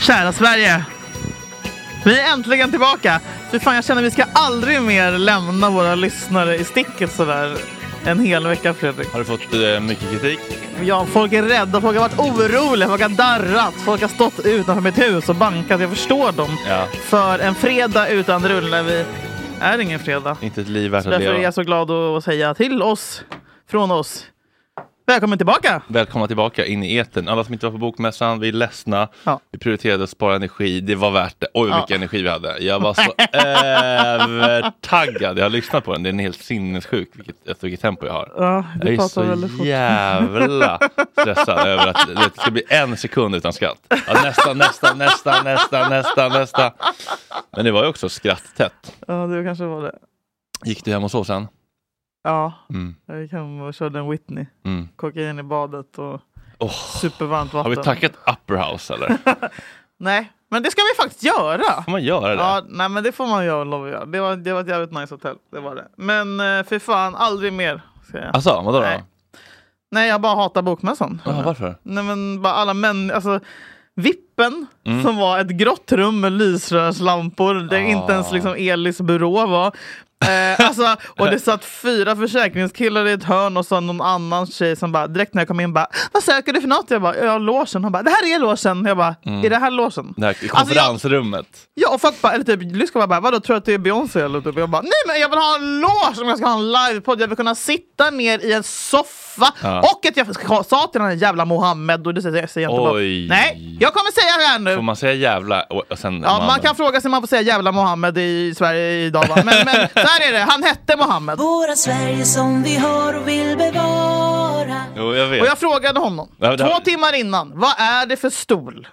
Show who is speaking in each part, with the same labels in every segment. Speaker 1: Kära Sverige! Vi är äntligen tillbaka! Fy fan, jag känner att vi ska aldrig mer lämna våra lyssnare i sticket sådär en hel vecka Fredrik.
Speaker 2: Har du fått eh, mycket kritik?
Speaker 1: Ja, folk är rädda, folk har varit oroliga, folk har darrat, folk har stått utanför mitt hus och bankat. Jag förstår dem.
Speaker 2: Ja.
Speaker 1: För en fredag utan rullevy är ingen fredag.
Speaker 2: Inte ett liv värt att
Speaker 1: Därför är
Speaker 2: leva.
Speaker 1: jag så glad att säga till oss, från oss, välkommen tillbaka!
Speaker 2: Välkomna tillbaka in i etern. Alla som inte var på bokmässan, vi är ledsna.
Speaker 1: Ja.
Speaker 2: Vi prioriterade att spara energi. Det var värt det. Oj,
Speaker 1: Ja.
Speaker 2: vilken energi vi hade. Jag var så övertaggad. Jag har lyssnat på den. Den är helt sinnessjuk, vilket, efter vilket tempo jag har.
Speaker 1: Ja,
Speaker 2: Jag
Speaker 1: du
Speaker 2: är
Speaker 1: pratar
Speaker 2: så
Speaker 1: väldigt fort.
Speaker 2: jävla stressad över att det ska bli en sekund utan skratt. Ja, nästa, nästa, nästa, nästa, nästa, nästa. Men det var ju också skratttätt.
Speaker 1: Ja, du kanske var det.
Speaker 2: Gick du hem och sov sen?
Speaker 1: Ja,
Speaker 2: Mm.
Speaker 1: jag gick hem och körde en Whitney.
Speaker 2: Mm.
Speaker 1: kokain i badet och
Speaker 2: Åh,
Speaker 1: supervarmt
Speaker 2: har
Speaker 1: vatten.
Speaker 2: vi tackat Upper House eller?
Speaker 1: Nej, men det ska vi faktiskt göra.
Speaker 2: Får man göra det?
Speaker 1: Ja, nej, men det får man ju lov att göra. Det var, det var ett jävligt nice hotell. Det var det. Men eh, för fan, aldrig mer. Ska jag.
Speaker 2: Alltså, vadå då?
Speaker 1: Nej. Mm. Nej, jag bara hatar bokmässan.
Speaker 2: Jaha, varför?
Speaker 1: Nej, men bara alla män, alltså Vippen som var ett grått rum med lysrörslampor där inte ens liksom Elis byrå var. Eh, alltså, och det satt fyra försäkringskillar i ett hörn och så någon annan tjej som bara direkt när jag kom in bara Vad söker du för något? Jag bara, ja låsen. Hon bara, det här är låsen. Jag bara, är det här låsen?
Speaker 2: Det här
Speaker 1: Alltså, jag,
Speaker 2: konferensrummet.
Speaker 1: ja, och folk bara, eller typ, lyssnar bara, vadå tror du att det är Beyoncé eller typ? Jag bara, nej men jag vill ha en lås om jag ska ha en livepodd. Jag vill kunna sitta ner i en soffa.
Speaker 2: Ja.
Speaker 1: Och att jag ska- sa till den här jävla Mohammed, och det säger jag säger inte bara,
Speaker 2: Oj.
Speaker 1: nej jag kommer säga det här nu.
Speaker 2: Får man säga jävla och och sen...
Speaker 1: Ja, man kan fråga sig om man får säga jävla Mohammed i Sverige idag va? Men, men så här är det, han hette Mohammed.
Speaker 3: Våra Sverige som vi har och vill bevara
Speaker 2: Jo, jag vet.
Speaker 1: Och jag frågade honom,
Speaker 2: Ja, det här-
Speaker 1: två timmar innan, vad är det för stol?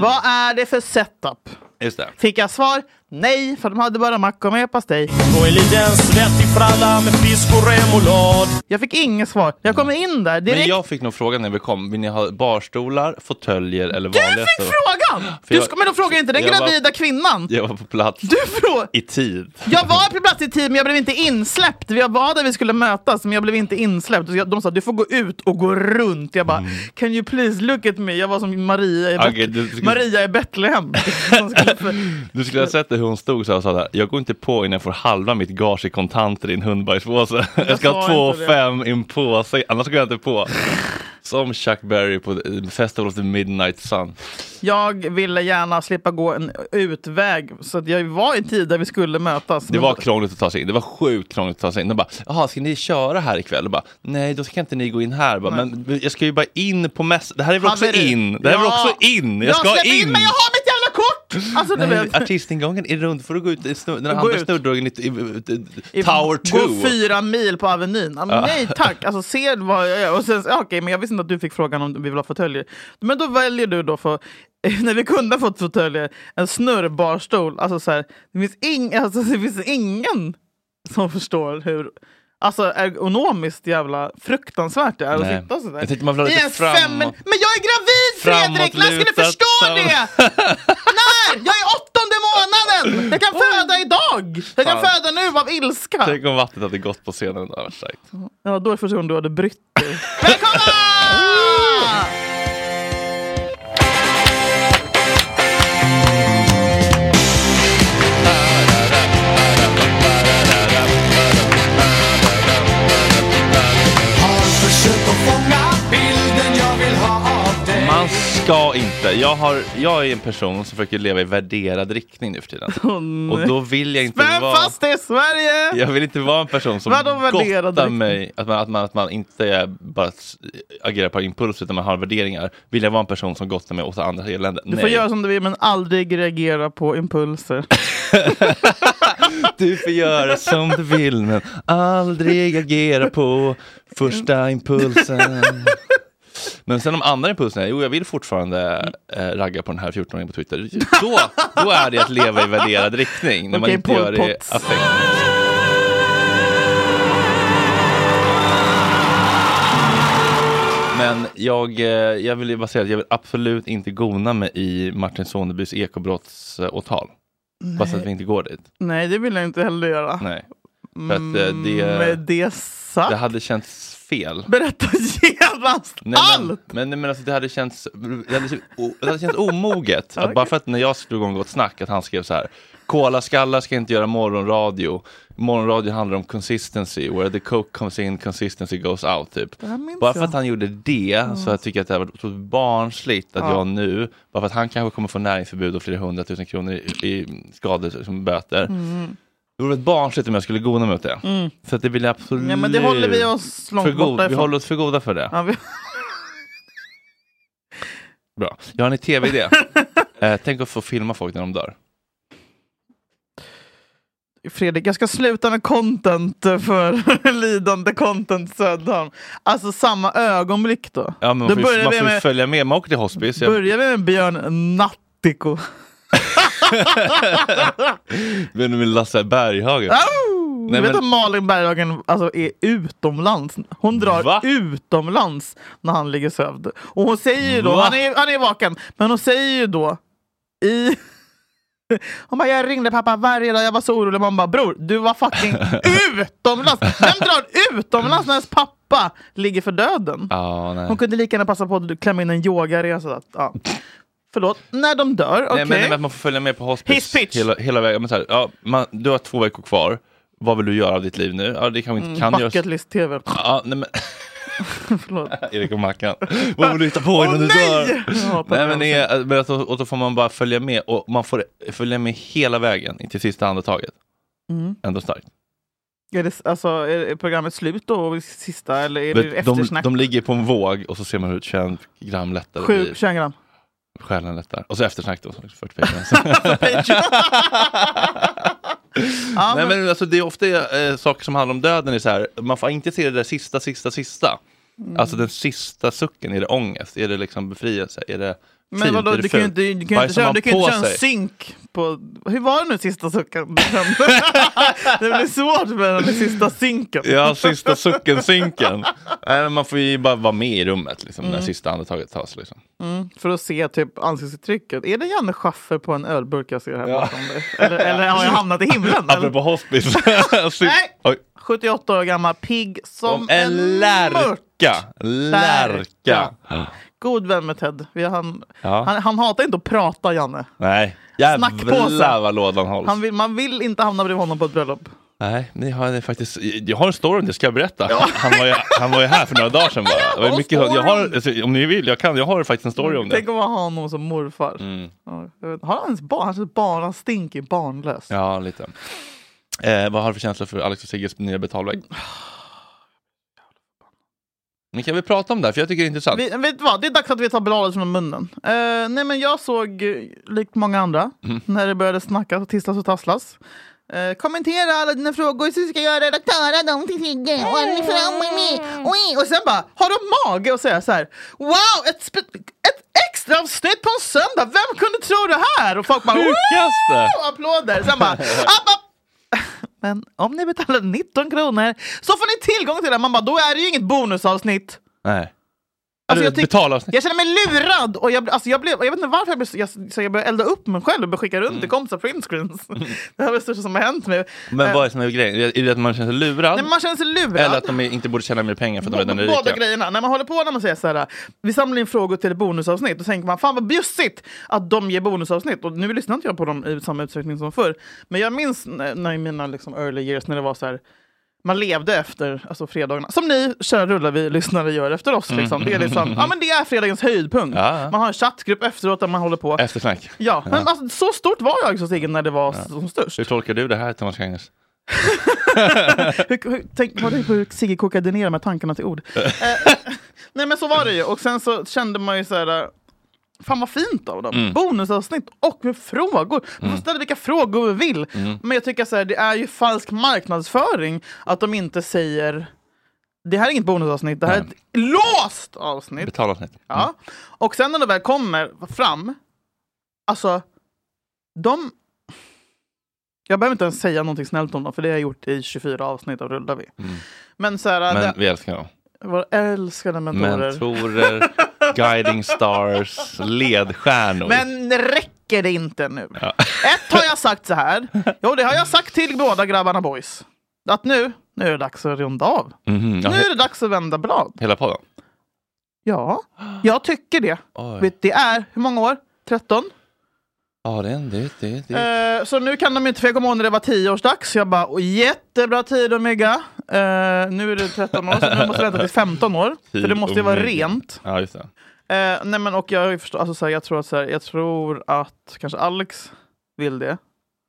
Speaker 1: Vad är det för setup?
Speaker 2: Just det.
Speaker 1: Fick jag svar? Nej, för de hade bara macka med pastej.
Speaker 4: Och en liten svettig fralla med fisk och remoulad.
Speaker 1: Jag fick inget svar. Jag kommer in där direkt.
Speaker 2: Men jag fick nog frågan när vi kom, vill ni ha barstolar, fåtöljer eller
Speaker 1: Du
Speaker 2: vanliga
Speaker 1: fick
Speaker 2: stolar?
Speaker 1: frågan!
Speaker 2: För
Speaker 1: Du,
Speaker 2: jag-
Speaker 1: ska- men då frågar inte den
Speaker 2: jag var-
Speaker 1: gravida kvinnan.
Speaker 2: Jag var på plats
Speaker 1: Du frågar...
Speaker 2: i tid.
Speaker 1: Jag var på plats i tid men jag blev inte insläppt. Jag var där vi skulle mötas men jag blev inte insläppt. Så jag- De sa du får gå ut och gå runt. Jag bara can you please look at me? Jag var som Maria i, Bet-
Speaker 2: Mm. Okej, du skulle-
Speaker 1: Maria i Betlehem. Som skulle för-
Speaker 2: Du skulle ha sett det, hur hon stod så här och sa där, jag går inte på innan jag får halva mitt gage i kontanter i en hundbajspåse. Jag ska ha
Speaker 1: sa
Speaker 2: två
Speaker 1: inte det.
Speaker 2: fem i en påse, annars går jag inte på. Som Chuck Berry på eh, Festival of the Midnight Sun.
Speaker 1: jag ville gärna slippa gå en utväg så att jag var i tid där vi skulle mötas.
Speaker 2: Det var krångligt att ta sig in. Det var sjukt krångligt att ta sig in. De bara, jaha, ska ni köra här ikväll? Och bara, nej, då ska inte ni gå in här. Bara, men jag ska ju bara in på mässan. Det här är väl också
Speaker 1: Haveri.
Speaker 2: in? Det här är väl
Speaker 1: Ja.
Speaker 2: också in? Jag, ska
Speaker 1: släpper
Speaker 2: in!
Speaker 1: Men jag har mitt jävla kort! Alltså, du
Speaker 2: Nej,
Speaker 1: vet.
Speaker 2: artistingången är rund. får du gå ut i snur, den
Speaker 1: Gå
Speaker 2: andra
Speaker 1: ut.
Speaker 2: snurrdörren i, i, i,
Speaker 1: I-
Speaker 2: Tower 2.
Speaker 1: Gå fyra mil på Avenyn. Ja, men Nej tack, alltså se vad jag är. Och sen, ja, okej, men jag visste inte att du fick frågan om vi vill ha fåtöljer. Men då väljer du då för när vi kunde ha fått fåtöljer, en snurrbarstol. Alltså, så här, det, finns ing, alltså, det finns ingen som förstår hur alltså, ergonomiskt jävla fruktansvärt det är
Speaker 2: Nej.
Speaker 1: att sitta sådär.
Speaker 2: Jag tänkte man vill ha
Speaker 1: I
Speaker 2: lite
Speaker 1: en
Speaker 2: framåt-
Speaker 1: fem- Men jag är gravid Fredrik! När ska du
Speaker 2: Framåtlutat
Speaker 1: förstå
Speaker 2: sam-
Speaker 1: det? När? Jag är åttonde månaden! Jag kan föda idag! Jag kan
Speaker 2: Fan.
Speaker 1: föda nu av ilska!
Speaker 2: Tänk om vattnet hade gått på scenen. Det hade varit starkt.
Speaker 1: Ja, då är det första gången du hade brytt dig. Välkomna!
Speaker 5: Har
Speaker 2: ska inte. Jag, har, jag är en person som försöker leva i värderad riktning nu för tiden. och då vill jag inte
Speaker 1: Spänn
Speaker 2: vara...
Speaker 1: fast det i Sverige!
Speaker 2: Jag vill inte vara en person som
Speaker 1: Vadå liksom? värderad
Speaker 2: gottar
Speaker 1: riktning?
Speaker 2: mig, att man, att, man, att man inte är bara s- agerar på impuls utan man har värderingar. Vill jag vara en person som gottar mig åt andra elände?
Speaker 1: Du får göra som du vill men aldrig reagera på impulser.
Speaker 2: Du får göra som du vill men aldrig agera på första impulsen. Men sen de andra impulserna, jo jag vill fortfarande eh, ragga på den här 14-åringen på Twitter. Då, då är det att leva i värderad riktning, när man
Speaker 1: Okej,
Speaker 2: inte gör det
Speaker 1: Pol
Speaker 2: i
Speaker 1: Pot.
Speaker 2: affekt. Men jag, eh, jag vill ju bara säga att jag vill absolut inte gona mig i Martin Sonebys ekobrottsåtal. Bara så att vi inte går dit.
Speaker 1: Nej, det vill jag inte heller göra. Mm,
Speaker 2: Nej. För att eh, det,
Speaker 1: Med det sagt,
Speaker 2: det hade känts fel.
Speaker 1: berätta genast
Speaker 2: Nej, men-
Speaker 1: allt!
Speaker 2: Men, nej, men alltså, det hade känts, det hade, känts o- det hade känts omoget. Att bara för att när jag drog igång Gott Snack att han skrev så här. Kolaskallar ska inte göra morgonradio. Morgonradio handlar om consistency. Where the coke comes in, consistency goes out. Typ.
Speaker 1: här minns
Speaker 2: Bara för
Speaker 1: jag.
Speaker 2: att han gjorde det så jag tycker att det har varit otroligt barnsligt att jag nu, bara för att han kanske kommer få näringsförbud och flera hundratusen kronor i, i skador som böter.
Speaker 1: Mm.
Speaker 2: Det vore barnsligt om jag skulle gona mig åt det. Så att det vill jag absolut.
Speaker 1: Nej, Mm. men det håller vi oss
Speaker 2: för
Speaker 1: långt
Speaker 2: god,
Speaker 1: borta
Speaker 2: Vi
Speaker 1: ifrån.
Speaker 2: håller oss för goda för det.
Speaker 1: Ja, vi...
Speaker 2: Bra. Jag har en tv-idé. eh, tänk att få filma folk när de dör.
Speaker 1: Fredrik, jag ska sluta med content för lidande content Söderholm. Alltså samma ögonblick då.
Speaker 2: Ja, men man
Speaker 1: Då
Speaker 2: får, ju-
Speaker 1: börjar
Speaker 2: man
Speaker 1: vi
Speaker 2: får ju
Speaker 1: med-
Speaker 2: följa med. Man åker till hospice. Jag,
Speaker 1: Börjar vi med Björn Nattiko.
Speaker 2: men med Lasse Berghagen.
Speaker 1: Au!
Speaker 2: Nej,
Speaker 1: vet
Speaker 2: men-
Speaker 1: att Malin Berghagen alltså, är utomlands. Hon drar
Speaker 2: Va?
Speaker 1: utomlands när han ligger sövd. Och hon säger ju då,
Speaker 2: Va?
Speaker 1: han är, han är vaken, men hon säger ju då i... Hon bara, jag ringde pappa varje dag, jag var så orolig. Man bara, bror, du var fucking utomlands! Vem drar utomlands när ens pappa ligger för döden?
Speaker 2: Ja, nej.
Speaker 1: Hon kunde lika gärna passa på att klämma in en yogaresa. att, Ja. Förlåt, när de dör, okej.
Speaker 2: nej, men, nej, men att man får följa med på
Speaker 1: His
Speaker 2: hospice
Speaker 1: pitch.
Speaker 2: hela, hela vägen. Men så här, ja, man, du har två veckor kvar. Vad vill du göra av ditt liv nu? Ja, det kanske
Speaker 1: Mm,
Speaker 2: inte kan göras.
Speaker 1: Bucket list-tv.
Speaker 2: Ja, nej, men,
Speaker 1: Förlåt.
Speaker 2: Erik och Mackan. Vad vill du hitta på
Speaker 1: Åh,
Speaker 2: innan du
Speaker 1: nej!
Speaker 2: dör?
Speaker 1: Ja, på
Speaker 2: Nej, men
Speaker 1: den
Speaker 2: det är, men att- och då får man bara följa med. Och man får följa med hela vägen in till sista andetaget.
Speaker 1: Mm.
Speaker 2: Ändå starkt.
Speaker 1: Är, det, alltså, är är programmet slut då? och Sista eller är det
Speaker 2: Vet, de,
Speaker 1: eftersnack?
Speaker 2: de ligger på en våg och så ser man hur 21 gram lättare
Speaker 1: Sju,
Speaker 2: blir.
Speaker 1: 21 gram.
Speaker 2: Själen lättar. Och så eftersnack då. som 40 gram.
Speaker 1: Ja,
Speaker 2: Nej
Speaker 1: men,
Speaker 2: men alltså det är ofta eh, saker som handlar om döden. Är så här, man får inte se det där sista, sista, sista.
Speaker 1: Mm.
Speaker 2: Alltså den sista sucken. Är det ångest? Är det liksom befrielse? Är det
Speaker 1: men,
Speaker 2: fint?
Speaker 1: vadå,
Speaker 2: typ, Är det
Speaker 1: du kan ju
Speaker 2: fult?
Speaker 1: inte, du kan ju inte
Speaker 2: Bajsar
Speaker 1: köra,
Speaker 2: man
Speaker 1: du kan
Speaker 2: på
Speaker 1: ju inte köra en
Speaker 2: sig?
Speaker 1: synk på... Hur var det nu sista sucken? det blir svårt med den sista synken.
Speaker 2: Ja, sista sucken, synken. Nej, men man får ju bara vara med i rummet liksom,
Speaker 1: Mm.
Speaker 2: när sista andetaget tas. Liksom.
Speaker 1: För att se typ ansiktsuttrycket. Är det Janne Schaffer på en ölburk jag ser här bakom dig? Eller, eller har jag hamnat i himlen? eller?
Speaker 2: Apropå hospice.
Speaker 1: Nej.
Speaker 2: Oj.
Speaker 1: 78 år gammal, pigg som,
Speaker 2: Som en
Speaker 1: mört.
Speaker 2: lärka. Lärka.
Speaker 1: God vän med Ted. Vi, han,
Speaker 2: Ja.
Speaker 1: han, han hatar inte att prata, Janne.
Speaker 2: Nej.
Speaker 1: Snackpåse.
Speaker 2: Jävlar vad lådan hålls.
Speaker 1: Han vill, man vill inte hamna bredvid honom på ett bröllop.
Speaker 2: Nej, ni har ni faktiskt... Jag har en story om det, ska jag berätta? Han, var ju, han var ju här för några dagar sedan bara. Det var ju
Speaker 1: Och
Speaker 2: mycket, jag har,
Speaker 1: storyn.
Speaker 2: alltså, om ni vill, jag kan. Jag har faktiskt en story om det. Mm.
Speaker 1: Tänk om man har honom som morfar. Ja, jag vet. Har han ens barn? Han känns bara stinkig, barnlös.
Speaker 2: Ja, lite. Eh, vad har du för känsla för Alex och Sigges nya betalvägg? Men kan vi prata om det här? För jag tycker det är intressant.
Speaker 1: Vi, vet du vad? Det är dags att vi tar bladet från munnen. Eh, nej men jag såg, eh, likt många andra, när det började snackas och tisslas och tasslas. Eh, kommentera alla dina frågor så ska jag redaktöra dem till Sigge. Och han är framme med. Oj, Och sen bara, har de mage att säga så här. Wow, ett, spe- ett extra avsnitt på en söndag. Vem kunde tro det här? Och folk bara,
Speaker 2: Sjukaste!
Speaker 1: och applåder. Sen bara, app, app. Men om ni betalar 19 kronor så får ni tillgång till det. Man bara, då är det ju inget bonusavsnitt.
Speaker 2: Nej.
Speaker 1: Alltså, jag
Speaker 2: Alltså,
Speaker 1: tyck-
Speaker 2: Betalavsnitt.
Speaker 1: Jag känner mig lurad och jag, blir- alltså jag, blev, jag vet inte varför jag, blev, så- jag, så jag började elda upp mig själv och började skicka runt
Speaker 2: Mm.
Speaker 1: till kompisar printscreens. Det här var det största som har hänt mig.
Speaker 2: Men
Speaker 1: Eh,
Speaker 2: vad är det som är grejen? Är det att man känner sig lurad?
Speaker 1: nej, men man känner sig lurad.
Speaker 2: Eller att de inte borde tjäna mer pengar för att de redan är
Speaker 1: Bå- Båda
Speaker 2: rika?
Speaker 1: grejerna. När man håller på när man säger så här, vi samlar in frågor till ett bonusavsnitt, då tänker man fan vad bjussigt att de ger bonusavsnitt. Och nu lyssnar inte jag på dem i samma utsträckning som förr. Men jag minns när, när i mina liksom, early years när det var så här, man levde efter alltså fredagarna. Som ni, kära rullar vi lyssnare, gör efter oss. Liksom. Det, är liksom, ja, men det är fredagens höjdpunkt.
Speaker 2: Mm. Ja.
Speaker 1: Man har en chattgrupp efteråt där man håller på.
Speaker 2: Eftersnack.
Speaker 1: Ja, men alltså, så stort var jag också egen när det var som störst.
Speaker 2: Hur tolkar du det här, Thomas Gangers?
Speaker 1: Hur, hur, tänk, vad tänk på hur Sigge kokade ner med tankarna till ord. eh, nej men så var det ju. Och sen så kände man ju så här... eh, Fan vad fint av dem! Bonusavsnitt och med frågor! Man får ställa vilka frågor vi vill. Men jag tycker så här, det är ju falsk marknadsföring att de inte säger det här är inget bonusavsnitt, det här är
Speaker 2: Nej.
Speaker 1: ett låst avsnitt.
Speaker 2: Betalat nytt.
Speaker 1: Ja. Och sen när de väl kommer fram, alltså, de... Jag behöver inte ens säga någonting snällt om dem, för det har jag gjort i 24 avsnitt av Rullar vi. Men så här,
Speaker 2: Mm. Men
Speaker 1: det,
Speaker 2: vi älskar dem.
Speaker 1: våra älskade mentorer.
Speaker 2: Mentorer, guiding stars, ledstjärnor.
Speaker 1: Men räcker det inte nu? Ett har jag sagt så här, jo det har jag sagt till båda grabbarna boys, att nu, nu är det dags att runda av.
Speaker 2: Mhm, ja,
Speaker 1: Nu är
Speaker 2: he-
Speaker 1: det dags att vända blad.
Speaker 2: hela podden?
Speaker 1: Ja, jag tycker det.
Speaker 2: Oj.
Speaker 1: Vet, Det är, hur många år? 13?
Speaker 2: Ja, det är en det, det, det.
Speaker 1: Eh, så nu kan de inte, för jag kommer ihåg när det var 10-årsdags, så jag bara "Åh, jättebra tid Omega. Eh, nu är det 13 år, så nu måste jag vänta till 15 år. För det måste ju vara
Speaker 2: Omega.
Speaker 1: rent.
Speaker 2: Ja, just det.
Speaker 1: Eh, nej men och jag, har ju förstå- alltså, så här, jag, tror att, så här, jag tror att kanske Alex vill det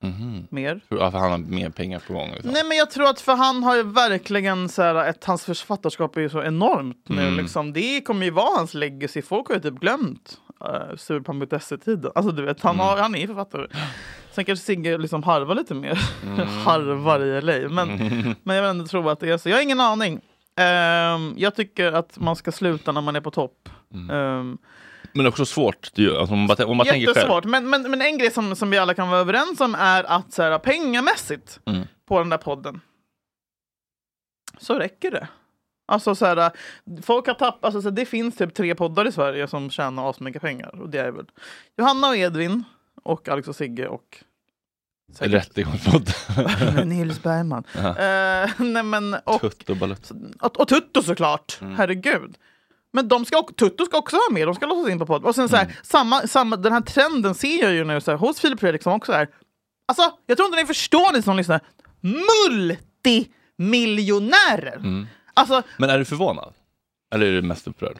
Speaker 2: Mhm.
Speaker 1: mer.
Speaker 2: Ja, för han har mer pengar på gång. Liksom.
Speaker 1: Nej men jag tror att för han har ju verkligen så här, ett, hans författarskap är ju så enormt nu
Speaker 2: Mm.
Speaker 1: liksom. Det kommer ju vara hans legacy, folk har ju typ glömt uh, surpamp.se-tiden. Alltså du vet, han,
Speaker 2: Mm.
Speaker 1: har, han är ju författare. Sen kanske Sigge liksom harvar lite mer.
Speaker 2: Mm.
Speaker 1: harvar i LA. Men, men jag vill ändå tro att det är så. Jag har ingen aning. Ehm, jag tycker att man ska sluta när man är på topp. Ehm,
Speaker 2: Men också svårt. det är ju- Alltså, om man, bara- om Mm. man tänker själv.
Speaker 1: jättesvårt. Men, men, men en grej som, som vi alla kan vara överens om är att så här, pengamässigt
Speaker 2: Mm.
Speaker 1: på den där podden så räcker det. Alltså så här, folk har tappat, alltså, så här, det finns typ tre poddar i Sverige som tjänar asmycket pengar. Och det är väl Johanna och Edvin och Alex och Sigge och säkert-
Speaker 2: Rättegångspodd.
Speaker 1: Nils Bergman.
Speaker 2: Ja.
Speaker 1: Eh, nej men, och,
Speaker 2: Tutt och balutt.
Speaker 1: och, och Tutto såklart,
Speaker 2: Mm.
Speaker 1: herregud. Men de ska, och- Tutto ska också vara med, de ska låtsas in på podden. Och sen så
Speaker 2: Mm.
Speaker 1: här, samma, samma, den här trenden ser jag ju nu så här, hos Filip Fredriksson också. Här. Alltså, jag tror inte ni förstår ni som lyssnar. Multimiljonärer!
Speaker 2: Mm.
Speaker 1: Alltså,
Speaker 2: Men är du förvånad? Eller är du mest upprörd?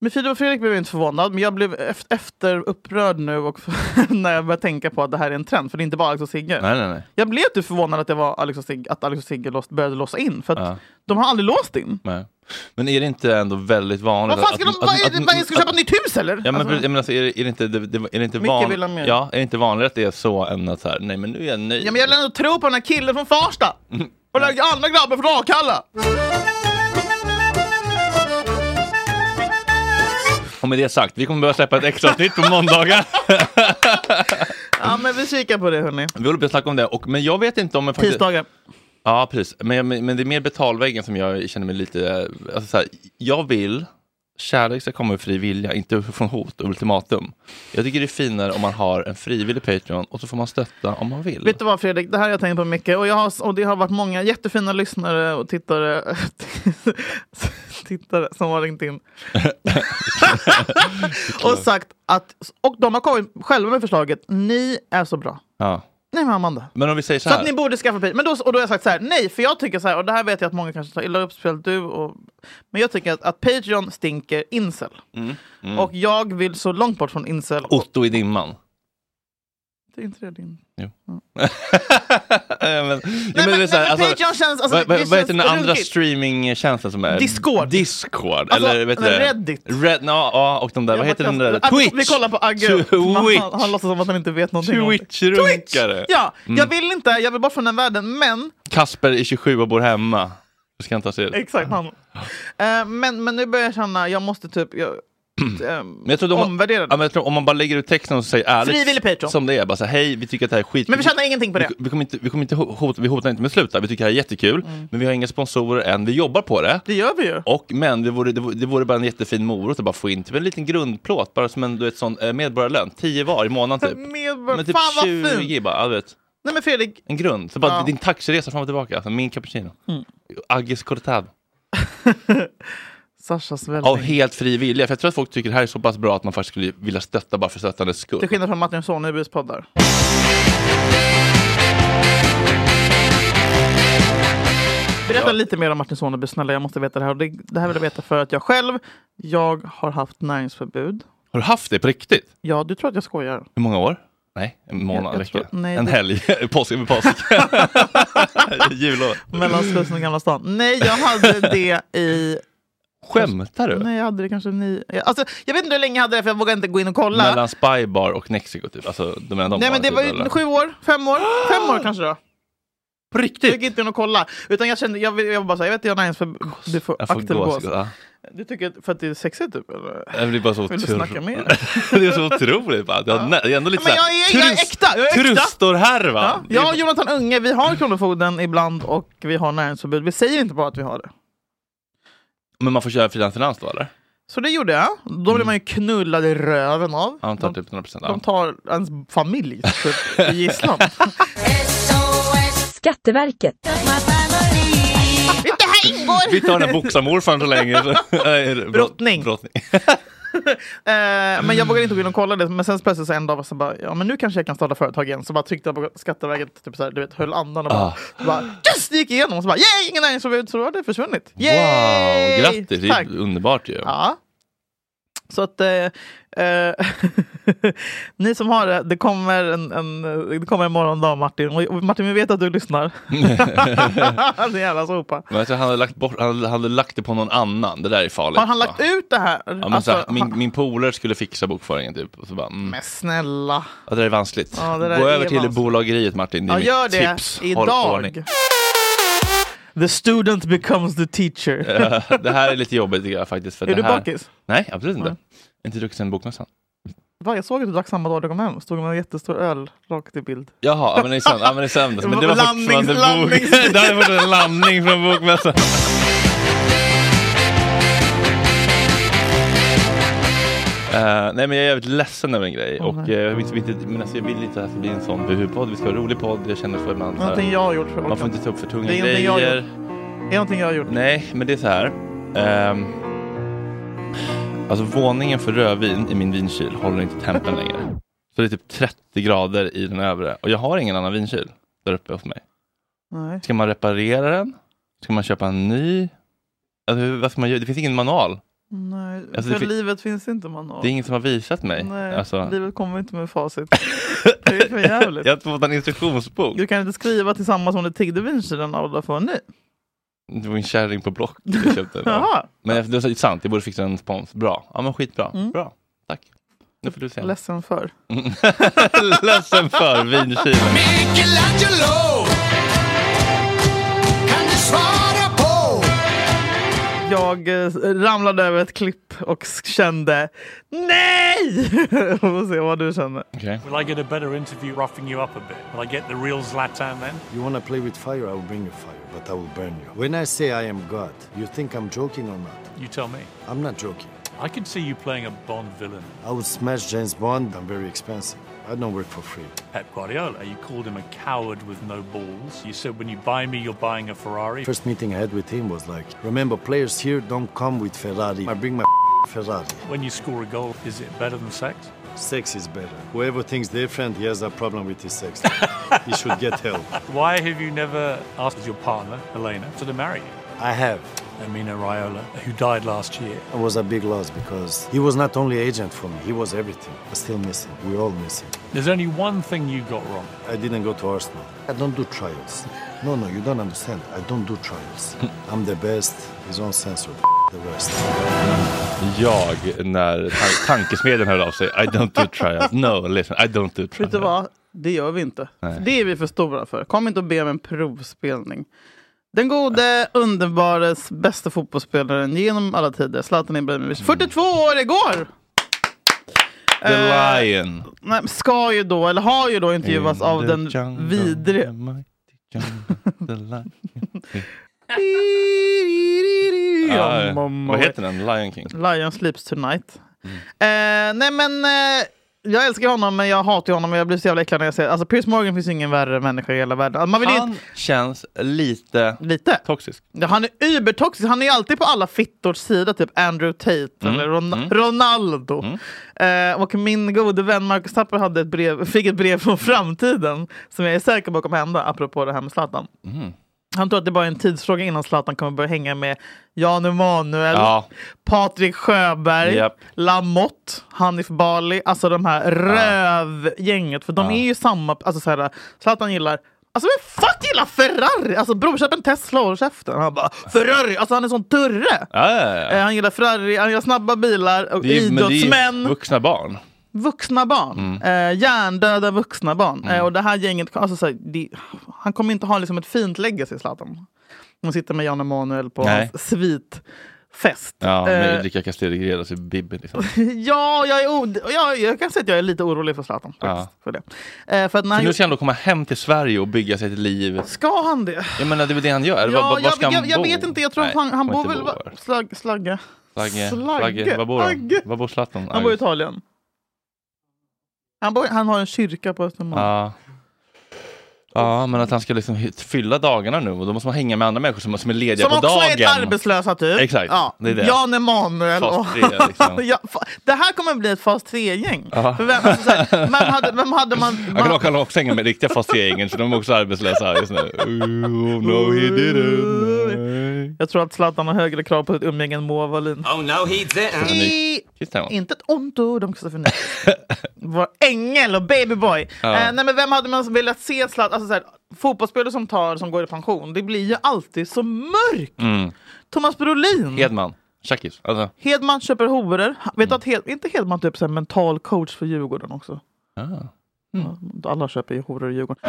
Speaker 1: med Filip och Fredrik blev jag inte förvånad, men jag blev ef- efter upprörd nu och när jag började tänka på att det här är en trend, för det är inte bara Alex och Sigge.
Speaker 2: Nej, nej, nej.
Speaker 1: Jag blev typ förvånad att, det var Alex och Sigge, att Alex och Sigge låst, började låsa in, för att
Speaker 2: Ja.
Speaker 1: de har aldrig låst in.
Speaker 2: nej. Men är det inte ändå väldigt vanligt
Speaker 1: Vad fan ska de, vad är det, vad är det, ska de köpa
Speaker 2: att-
Speaker 1: ett nytt hus eller?
Speaker 2: Ja, men,
Speaker 1: Alltså,
Speaker 2: precis, ja, men alltså, är, det, är det inte, det, det, är det inte
Speaker 1: Mycket vill ha mer.
Speaker 2: vanligt? Ja, är det inte vanligt att det är så än att så här, nej men nu är jag nöjd.
Speaker 1: ja, men jag vill ändå tro på den här killen från Farsta! Och den andra grabben från Akalla!
Speaker 2: Och med det sagt, vi kommer börja släppa ett extra avsnitt på måndagar.
Speaker 1: Ja men vi kikar på det hörni.
Speaker 2: vi håller på att snacka om det, och, men jag vet inte om... jag faktiskt-
Speaker 1: Tisdagar.
Speaker 2: Ja, precis. Men, men, men det är mer betalväggen som jag känner mig lite... Alltså, så här, jag vill kärlek ska komma ur fri vilja, inte från hot och ultimatum. Jag tycker det är finare om man har en frivillig Patreon och så får man stötta om man vill.
Speaker 1: Vet du vad Fredrik, det här har jag tänkt på mycket och, jag har, och det har varit många jättefina lyssnare och tittare, tittare som har ringt in. och sagt att, och de har kommit själva med förslaget, ni är så bra.
Speaker 2: Ja.
Speaker 1: Nej men Amanda.
Speaker 2: Men om vi säger så
Speaker 1: Så att ni
Speaker 2: här.
Speaker 1: borde skaffa bil. Men då, och då har jag sagt så här, nej, för jag tycker så här, och det här vet jag att många kanske tar illa upp, speciellt du. Och, men jag tycker att, att Patreon stinker incel.
Speaker 2: Mm,
Speaker 1: Och jag vill så långt bort från incel.
Speaker 2: Otto i dimman.
Speaker 1: Det är inte det din...
Speaker 2: Ja, men,
Speaker 1: Nej, men,
Speaker 2: det är
Speaker 1: nej,
Speaker 2: så här,
Speaker 1: men
Speaker 2: alltså,
Speaker 1: Patreon känns... Alltså,
Speaker 2: vad,
Speaker 1: det
Speaker 2: vad, vad
Speaker 1: känns
Speaker 2: heter den andra
Speaker 1: runkigt.
Speaker 2: streamingtjänsten som är?
Speaker 1: Discord.
Speaker 2: Discord.
Speaker 1: Alltså,
Speaker 2: eller vet du det?
Speaker 1: Reddit.
Speaker 2: Red, ja, ja, och de där,
Speaker 1: Jag
Speaker 2: vad heter
Speaker 1: bara
Speaker 2: den där?
Speaker 1: kastar- Alltså,
Speaker 2: Twitch!
Speaker 1: Vi kollar på Agge.
Speaker 2: Twitch.
Speaker 1: Han, han låtsas som att han inte vet någonting. om det.
Speaker 2: Twitch-runkare!
Speaker 1: Ja, jag
Speaker 2: Mm.
Speaker 1: vill inte, jag vill bort från den världen, men
Speaker 2: Kasper är 27 och bor hemma. Du ska inte ta sig ut.
Speaker 1: Exakt, han. Eh, men, men nu börjar jag känna, jag måste typ jag, ehm,
Speaker 2: Men jag tror de har-
Speaker 1: omvärdera
Speaker 2: Ja,
Speaker 1: det.
Speaker 2: men jag tror om man bara lägger ut texten och säger ärligt
Speaker 1: Frivillig Patreon.
Speaker 2: som det är, bara så här, hej vi tycker att det här är skit.
Speaker 1: Men vi tjänar ingenting på det.
Speaker 2: Vi, vi, kommer inte, vi, kommer inte ho- hota, vi hotar inte med att sluta, vi tycker det här är jättekul,
Speaker 1: Mm.
Speaker 2: men vi har inga sponsorer än, vi jobbar på det.
Speaker 1: Det gör vi ju.
Speaker 2: Och, men det vore, det, vore, det vore bara en jättefin morot att bara få in typ en liten grundplåt, bara som en du vet, sån, eh, medborgarlön, 10 var i månaden typ.
Speaker 1: Medborg-
Speaker 2: Men typ
Speaker 1: Fan vad
Speaker 2: 20
Speaker 1: fint!
Speaker 2: bara, ja, du vet,
Speaker 1: Nej men Fredrik,
Speaker 2: en grund. Så bara
Speaker 1: Ja.
Speaker 2: din taxiresa fram och tillbaka, alltså, min cappuccino.
Speaker 1: Mm.
Speaker 2: Agges cortado.
Speaker 1: Sashas
Speaker 2: Av
Speaker 1: välling.
Speaker 2: helt fri vilja, för jag tror att folk tycker det här är så pass bra att man faktiskt skulle vilja stötta bara för stöttandets skull.
Speaker 1: Till skillnad från Martin Sonebys poddar. Berätta lite mer om Martin Soneby, snälla. Jag måste veta det här. Och Det, det här vill jag veta för att jag själv, jag har haft näringsförbud.
Speaker 2: Har du haft det på riktigt?
Speaker 1: Ja, du tror att jag skojar.
Speaker 2: Hur många år? Nej, en månad,
Speaker 1: Jag- jag
Speaker 2: vecka.
Speaker 1: tror- nej,
Speaker 2: en
Speaker 1: det-
Speaker 2: helg. påsk över påsk. Jullov.
Speaker 1: Mellan Slussen och Gamla stan. Nej, jag hade det i...
Speaker 2: Skämtar du?
Speaker 1: Nej, jag hade det kanske ni... jag- Alltså, jag vet inte hur länge jag hade det, för jag vågade inte gå in och kolla.
Speaker 2: Mellan Spybar och Nexico typ. Alltså, de menar de
Speaker 1: Nej, men det
Speaker 2: barnen,
Speaker 1: var
Speaker 2: typ,
Speaker 1: ju
Speaker 2: eller?
Speaker 1: sju år, fem år, fem år kanske då.
Speaker 2: På
Speaker 1: Jag
Speaker 2: riktigt?
Speaker 1: gick inte in och kolla. Utan jag kände, jag, vill- jag var bara såhär, jag vet jag har näringsförbud. Du får,
Speaker 2: Jag får
Speaker 1: aktelgås.
Speaker 2: gås. Ja.
Speaker 1: Du tycker att- för att det är sexigt typ? Eller?
Speaker 2: Det blir bara så
Speaker 1: Vill du
Speaker 2: tur-
Speaker 1: snacka mer?
Speaker 2: det är så otroligt. Bara. Det är det är ändå lite
Speaker 1: Men jag
Speaker 2: såhär
Speaker 1: är, jag är
Speaker 2: turist-
Speaker 1: äkta! Jag är äkta!
Speaker 2: Trustor-härva.
Speaker 1: Ja,
Speaker 2: Det är
Speaker 1: jag och Jonathan Unge, vi har Kronofogden ibland och vi har näringsförbud. Vi säger inte bara att vi har det.
Speaker 2: Men man får köra frilans finans då eller?
Speaker 1: Så det gjorde jag. Då blir man ju knullad i röven av.
Speaker 2: Mm. Ja, de tar
Speaker 1: De,
Speaker 2: typ 100 procent.
Speaker 1: de tar ens familj typ, i gisslan.
Speaker 5: Skatteverket.
Speaker 1: det här ingår!
Speaker 2: Vi tar den här boxarmorfarn så länge. Nej, brott-
Speaker 1: Brottning.
Speaker 2: brottning.
Speaker 1: Eh, men jag
Speaker 2: Mm.
Speaker 1: vågade inte gå in och kolla det. Men sen plötsligt så en dag var så bara, ja men nu kanske jag kan starta företag igen. Så bara tryckte jag på Skatteverket, typ så här, du vet, höll andan och bara,
Speaker 2: Ah.
Speaker 1: så bara yes! Det gick igenom. Och så bara, yay! Ingen näringsförbud. Så då har det försvunnit. Yay!
Speaker 2: Wow, grattis. Det är
Speaker 1: Tack.
Speaker 2: ju underbart ju.
Speaker 1: Ja. Så att eh, eh, ni som har det, det kommer en, en, det kommer en morgondag Martin. Och, och Martin, vi vet att du lyssnar. Din jävla sopa.
Speaker 2: Men jag tror han hade, lagt bort, han, hade, han hade lagt det på någon annan. Det där är farligt.
Speaker 1: Har han lagt
Speaker 2: va?
Speaker 1: ut det här?
Speaker 2: Ja, men
Speaker 1: Alltså,
Speaker 2: så här,
Speaker 1: han-
Speaker 2: min, min polare skulle fixa bokföringen typ. Och så bara, mm,
Speaker 1: men snälla.
Speaker 2: ja, det där är vanskligt.
Speaker 1: Ja, det där
Speaker 2: Gå
Speaker 1: är
Speaker 2: över till
Speaker 1: vanskligt.
Speaker 2: bolageriet Martin. Det är
Speaker 1: Ja,
Speaker 2: mitt
Speaker 1: gör det
Speaker 2: tips. Håll ordning.
Speaker 1: idag. The student becomes the teacher.
Speaker 2: Eh, det här är lite jobbigt tycker jag faktiskt. För
Speaker 1: Är
Speaker 2: det
Speaker 1: du
Speaker 2: här...
Speaker 1: bakis?
Speaker 2: Nej, absolut inte.
Speaker 1: Nej.
Speaker 2: Inte druckit sen bokmässan.
Speaker 1: Va, jag såg att du drack samma dag du kom hem. Stod med en jättestor öl rakt i bild.
Speaker 2: Jaha, ja, men i söndags. Ja, men i söndags. Men det var
Speaker 1: Landnings-
Speaker 2: fortfarande bok.
Speaker 1: landnings-
Speaker 2: det här är fortfarande en landning från bokmässan. Eh, nej men jag är jävligt ledsen över en grej och eh, jag, vill inte, men alltså, jag vill inte att det blir en sån buhu-podd, vi ska ha en rolig podd, jag känner så ibland så här,
Speaker 1: Någonting jag har gjort för
Speaker 2: man får
Speaker 1: Håkan.
Speaker 2: inte ta upp för tunga
Speaker 1: Det är någonting jag har
Speaker 2: grejer.
Speaker 1: Är det någonting jag har gjort?
Speaker 2: Nej, men det är så här. Ehm, alltså våningen för rödvin i min vinkyl håller inte tempen längre. Så det är typ 30 grader i den övre och jag har ingen annan vinkyl där uppe hos mig.
Speaker 1: Nej.
Speaker 2: Ska man reparera den? Ska man köpa en ny? Alltså, hur- vad ska man göra? Det finns ingen manual.
Speaker 1: Nej.
Speaker 2: Alltså, det
Speaker 1: för
Speaker 2: fin-
Speaker 1: livet finns inte manual.
Speaker 2: Det är ingen som har visat mig.
Speaker 1: Nej,
Speaker 2: Alltså,
Speaker 1: livet kommer inte med facit. Det är för jävligt.
Speaker 2: jag har inte fått en instruktionsbok.
Speaker 1: Du kan inte skriva tillsammans om du tiggde vinkylen av dig för en ny.
Speaker 2: Det var en kärring på Block jag köpte. den av.
Speaker 1: Jaha,
Speaker 2: Men det är sant, jag borde fixa en spons. Bra. Ja men skitbra.
Speaker 1: Mm.
Speaker 2: Bra. Tack. Nu får du se.
Speaker 1: ledsen för.
Speaker 2: Ledsen för vinkylen.
Speaker 4: Michelangelo Kan du svara på
Speaker 1: Jag eh, ramlade över ett klipp och s- kände NEJ! Vi får se vad du känner.
Speaker 2: Okej.
Speaker 6: Will I get a better interview roughing you up a bit? Will I get the real Zlatan then?
Speaker 7: You wanna play with fire? I will bring you fire, but I will burn you. When I say I am God, you think I'm joking or not?
Speaker 6: You tell me.
Speaker 7: I'm not joking.
Speaker 6: I could see you playing a Bond villain.
Speaker 7: I will smash James Bond. I'm very expensive. I don't work for free.
Speaker 6: Pep Guardiola, you called him a coward with no balls. You said when you buy me, you're buying a Ferrari.
Speaker 7: First meeting I had with him was like, remember, players here don't come with Ferrari. I bring my Ferrari.
Speaker 6: When you score a goal, is it better than sex?
Speaker 7: Sex is better. Whoever thinks different, he has a problem with his sex. he should get help.
Speaker 6: Why have you never asked your partner, Elena, to marry you?
Speaker 7: I have.
Speaker 6: Amina Raiola, who died last year.
Speaker 7: It was a big loss because he was not only agent for me, he was everything. I still miss him. We all miss him.
Speaker 6: There's only one thing you got wrong.
Speaker 7: I didn't go to Arsenal. I don't do trials. No, no, you don't understand. I don't do trials. I'm the best. He's uncensored. The worst.
Speaker 2: Jag, när tan- tankesmedjan hörde av sig. I don't do trials. No, listen. I don't do
Speaker 1: Vet du
Speaker 2: trials.
Speaker 1: vad? Det gör vi inte.
Speaker 2: Nej.
Speaker 1: Det är vi för stora för. Kom inte och be om en provspelning. Den gode, underbara, bästa fotbollsspelaren genom alla tider, Zlatan Ibrahimovic. 42 år igår!
Speaker 2: Mm. The
Speaker 1: Eh,
Speaker 2: Lion.
Speaker 1: Nej, ska ju då, eller har ju då intervjuats av
Speaker 2: In the
Speaker 1: den
Speaker 2: jungle, the
Speaker 1: vidre...
Speaker 2: mighty jungle, the lion.
Speaker 1: Ja,
Speaker 2: Ah,
Speaker 1: mamma.
Speaker 2: Vad heter den? Lion King?
Speaker 1: Lion sleeps tonight. Eh, nej men, eh, jag älskar honom men jag hatar ju honom och jag blir så jävla äcklad när jag ser Alltså Piers Morgan finns ju ingen värre människa i hela världen. Alltså, Man vill
Speaker 2: Han
Speaker 1: inte...
Speaker 2: känns lite
Speaker 1: Lite.
Speaker 2: toxisk.
Speaker 1: Ja, han är übertoxisk. Han är ju alltid på alla fittors sida. Typ Andrew Tate eller Ron- Ronaldo. Eh, och min gode vän Marcus Tapper hade ett brev, fick ett brev från framtiden som jag är säker på kommer hända, apropå det här med Zlatan. Han tror att det bara är en tidsfråga innan Zlatan kommer börja hänga med Jan Emanuel,
Speaker 2: Ja.
Speaker 1: Patrik Sjöberg,
Speaker 2: Japp.
Speaker 1: Lamotte, Hanif Bali. Alltså de här rövgänget. För de är ju samma... Alltså så här, Zlatan gillar... Alltså vem fuck gillar Ferrari? Alltså bror, köp en Tesla och håll käften. Han bara Ferrari! Alltså han är sån turre!
Speaker 2: Ja, ja, ja.
Speaker 1: Eh, Han gillar Ferrari, han gillar snabba bilar, och
Speaker 2: Det är ju- Mm. men det är ju
Speaker 1: idrottsmän.
Speaker 2: vuxna barn.
Speaker 1: vuxna barn. Eh, hjärndöda vuxna barn.
Speaker 2: Mm.
Speaker 1: Eh, och det här gänget, alltså, så här, det, han kommer inte ha liksom, ett fint legacy Zlatan. De sitter med Jan Emanuel på
Speaker 2: Nej.
Speaker 1: hans svitfest.
Speaker 2: Ja, med
Speaker 1: Eh,
Speaker 2: Ulrika Castelli till Bibben. Liksom.
Speaker 1: ja, jag, är od- ja, jag kan säga att jag är lite orolig för Zlatan. Faktiskt, för det. Eh, för att
Speaker 2: För
Speaker 1: när han,
Speaker 2: nu ska han då komma hem till Sverige och bygga sig ett liv.
Speaker 1: Ska han det?
Speaker 2: Jag menar, det är väl det han gör? Eller var,
Speaker 1: Ja,
Speaker 2: var ska
Speaker 1: jag,
Speaker 2: han
Speaker 1: jag, jag
Speaker 2: bo?
Speaker 1: vet inte, jag tror
Speaker 2: Nej,
Speaker 1: att han, han bor
Speaker 2: inte
Speaker 1: väl...
Speaker 2: bo
Speaker 1: va-
Speaker 2: här.
Speaker 1: Slag, slagga.
Speaker 2: Slagge,
Speaker 1: Slagge,
Speaker 2: Slagge. Var bor han?
Speaker 1: Agge.
Speaker 2: Var bor Zlatan?
Speaker 1: Han bor i
Speaker 2: Agge.
Speaker 1: Italien. Han, bor, han har en kyrka på Östermalm.
Speaker 2: Ja. Ja, men att han ska liksom hy- fylla dagarna nu och då måste man hänga med andra människor som, som är lediga
Speaker 1: Som
Speaker 2: på
Speaker 1: också
Speaker 2: dagen.
Speaker 1: är arbetslösa typ.
Speaker 2: Exakt,
Speaker 1: Ja.
Speaker 2: det är det.
Speaker 1: Jan Emanuel.
Speaker 2: Fas
Speaker 1: och-
Speaker 2: tre, liksom.
Speaker 1: ja, fa- det här kommer bli ett fas 3-gäng.
Speaker 2: Ja.
Speaker 1: Vem, alltså, så här, vem, hade, vem hade man...
Speaker 2: Jag kan
Speaker 1: man
Speaker 2: också, kan också hänga med riktiga fast gängen, så de är också arbetslösa just nu. Oh, no he didn't.
Speaker 1: jag tror att Zlatan har högre krav på sitt umgänge än Moa Wallin.
Speaker 5: Oh no, he didn't.
Speaker 1: I,
Speaker 2: Titta, hon.
Speaker 1: inte ett ont ord om Kristoffer Nyberg. Vår ängel och babyboy. Eh, nej, men vem hade man velat se Zlatan? Alltså, så här, fotbollsspelare som tar som går i pension, det blir ju alltid så mörkt.
Speaker 2: Mm.
Speaker 1: Thomas Brolin.
Speaker 2: Hedman, Shakis. Alltså,
Speaker 1: Hedman köper horor. Han-
Speaker 2: Mm.
Speaker 1: Vet du att Hed, inte Hedman typ så här mental coach för Djurgården också?
Speaker 2: Ah.
Speaker 1: Mm. Ja, alla köper ju horor i Djurgården.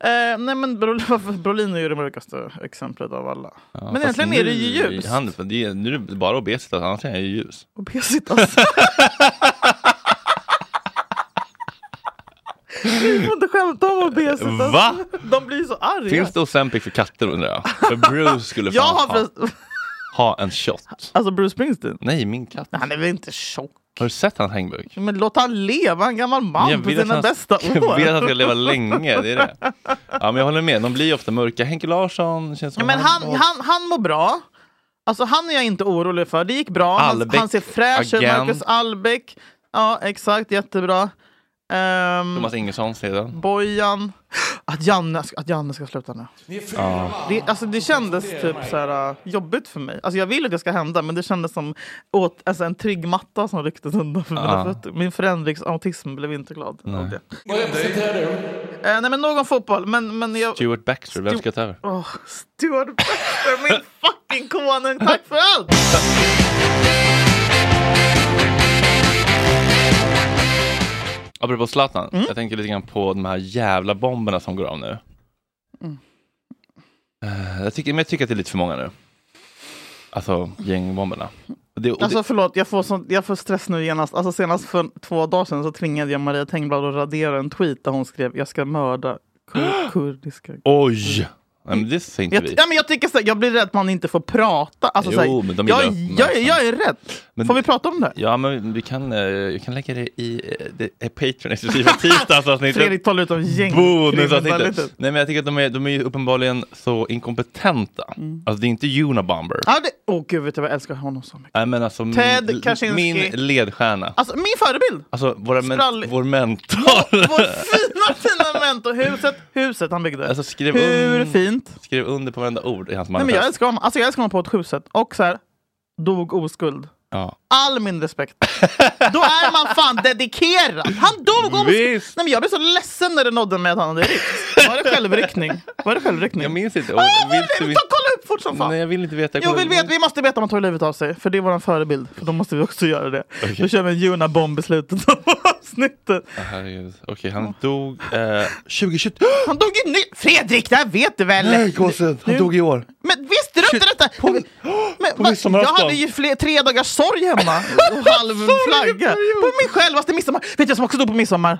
Speaker 1: Eh, nej men Brolin, varför- Brolin är ju det mörkaste exemplet av alla. men
Speaker 2: fast
Speaker 1: egentligen är det ju
Speaker 2: nu-
Speaker 1: ljust.
Speaker 2: Han, det är, nu är det bara obesitas, annars är han ju ljus.
Speaker 1: Obesitas. Vi får inte skämta om obesitas.
Speaker 2: Va?
Speaker 1: De blir ju så arga.
Speaker 2: Finns det Ozempic för katter undrar jag? För Bruce skulle
Speaker 1: Jag
Speaker 2: fan
Speaker 1: har
Speaker 2: ha,
Speaker 1: för...
Speaker 2: ha en shot.
Speaker 1: Alltså Bruce Springsteen.
Speaker 2: Nej, min katt.
Speaker 1: Han är väl inte tjock?
Speaker 2: Har du sett hans hängbuk?
Speaker 1: Men låt han leva, en gammal man på sina bästa
Speaker 2: jag
Speaker 1: år.
Speaker 2: vill att han ska leva länge, det är det. Ja, men jag håller med, de blir ju ofta mörka. Henke Larsson känns
Speaker 1: Ja,
Speaker 2: som
Speaker 1: men han, han, han mår bra. Alltså han är jag inte orolig för. Det gick bra. Han,
Speaker 2: Albeck,
Speaker 1: han ser fräsch ut.
Speaker 2: agent.
Speaker 1: Marcus Albeck. Ja, exakt. Jättebra. Ehm,
Speaker 2: Thomas Ingesson sedan.
Speaker 1: Bojan. Att Janne, att Janne ska sluta nu. Det, alltså, det kändes typ så här, uh, jobbigt för mig. Alltså, jag vill att det ska hända, men det kändes som åt, alltså, en trygg matta som rycktes undan för mina fötter. Min förändringsautism blev inte glad av det. Eh, nej, men någon fotboll. Men, men jag,
Speaker 2: Stuart Baxter, vem ska ta över?
Speaker 1: Åh, Stuart Baxter, min fucking konung. Tack för allt!
Speaker 2: Apropå Zlatan,
Speaker 1: Mm.
Speaker 2: jag tänker lite grann på de här jävla bomberna som går av nu.
Speaker 1: Mm.
Speaker 2: Eh, Jag, tycker, men jag tycker att det är lite för många nu. Alltså gängbomberna. Och Det, och det,
Speaker 1: Alltså förlåt, jag får, sånt, jag får stress nu genast. Alltså senast för två dagar sedan så tvingade jag Maria Tengblad att radera en tweet där hon skrev jag ska mörda kur- kurdiska.
Speaker 2: oj! Nej, men det säger inte
Speaker 1: Jag,
Speaker 2: vi.
Speaker 1: ja, men jag, tycker så, här, jag blir rädd att man inte får prata. Alltså,
Speaker 2: Jo,
Speaker 1: så här,
Speaker 2: men de
Speaker 1: jag,
Speaker 2: gillar
Speaker 1: jag, jag, jag är rädd.
Speaker 2: liksom. Men-
Speaker 1: får vi prata om det?
Speaker 2: Ja, men vi kan, eh, vi kan lägga det i eh, det är Patreon exklusiva tisdagsavsnittet.
Speaker 1: Fredrik talar ut om
Speaker 2: Bonusavsnittet.
Speaker 1: gängkriminalitet.
Speaker 2: Nej, men jag tycker att de är, de är ju uppenbarligen så inkompetenta.
Speaker 1: Mm.
Speaker 2: Alltså det är inte Unabomber.
Speaker 1: Ja, det- Åh gud, vet du vad jag älskar honom så mycket.
Speaker 2: Nej, men alltså min,
Speaker 1: Ah! Ted Kaczynski.
Speaker 2: min ledstjärna.
Speaker 1: Alltså min förebild!
Speaker 2: Alltså våra men,
Speaker 1: Sprallig.
Speaker 2: vår mentor.
Speaker 1: Vår fina, fina mentor! Huset, huset han byggde.
Speaker 2: Alltså, skrev
Speaker 1: Hur
Speaker 2: un-
Speaker 1: fint?
Speaker 2: Skriv under på varenda ord i hans
Speaker 1: Nej, men
Speaker 2: manifest.
Speaker 1: jag älskar honom. Alltså, jag älskar honom på ett sjukt sätt. Och så här, dog oskuld.
Speaker 2: ja.
Speaker 1: All min respekt. Då är man fan dedikerad. Han dog oskuld. Nej,
Speaker 2: Visst.
Speaker 1: men jag blev så ledsen när det nådde mig att han hade ryckt. Var det självryckning? Var det självryckning?
Speaker 2: jag minns inte.
Speaker 1: Ah,
Speaker 2: Och
Speaker 1: jag vill,
Speaker 2: du
Speaker 1: vill,
Speaker 2: veta-
Speaker 1: ta, kolla upp fort som fan.
Speaker 2: Nej, jag vill inte veta.
Speaker 1: Jag vill veta, vi måste veta om han tog livet av sig, för det är vår förebild. För då måste vi också göra det. Då kör vi en Juna-bomb i slutet av avsnittet.
Speaker 2: Ah, herregud. Okej, han dog eh, 2020.
Speaker 1: Han dog ju ny... Fredrik, det här vet du väl?
Speaker 2: gossen! Han
Speaker 1: Nu-
Speaker 2: i år.
Speaker 1: Men visste du inte
Speaker 2: Shit,
Speaker 1: detta?
Speaker 2: på-
Speaker 1: Men- men,
Speaker 2: på
Speaker 1: va-
Speaker 2: midsommarafton.
Speaker 1: jag hade ju fler, tre dagars sorg hemma och halv flagga. På min självaste midsommar. Vet du vad som också stod på midsommar?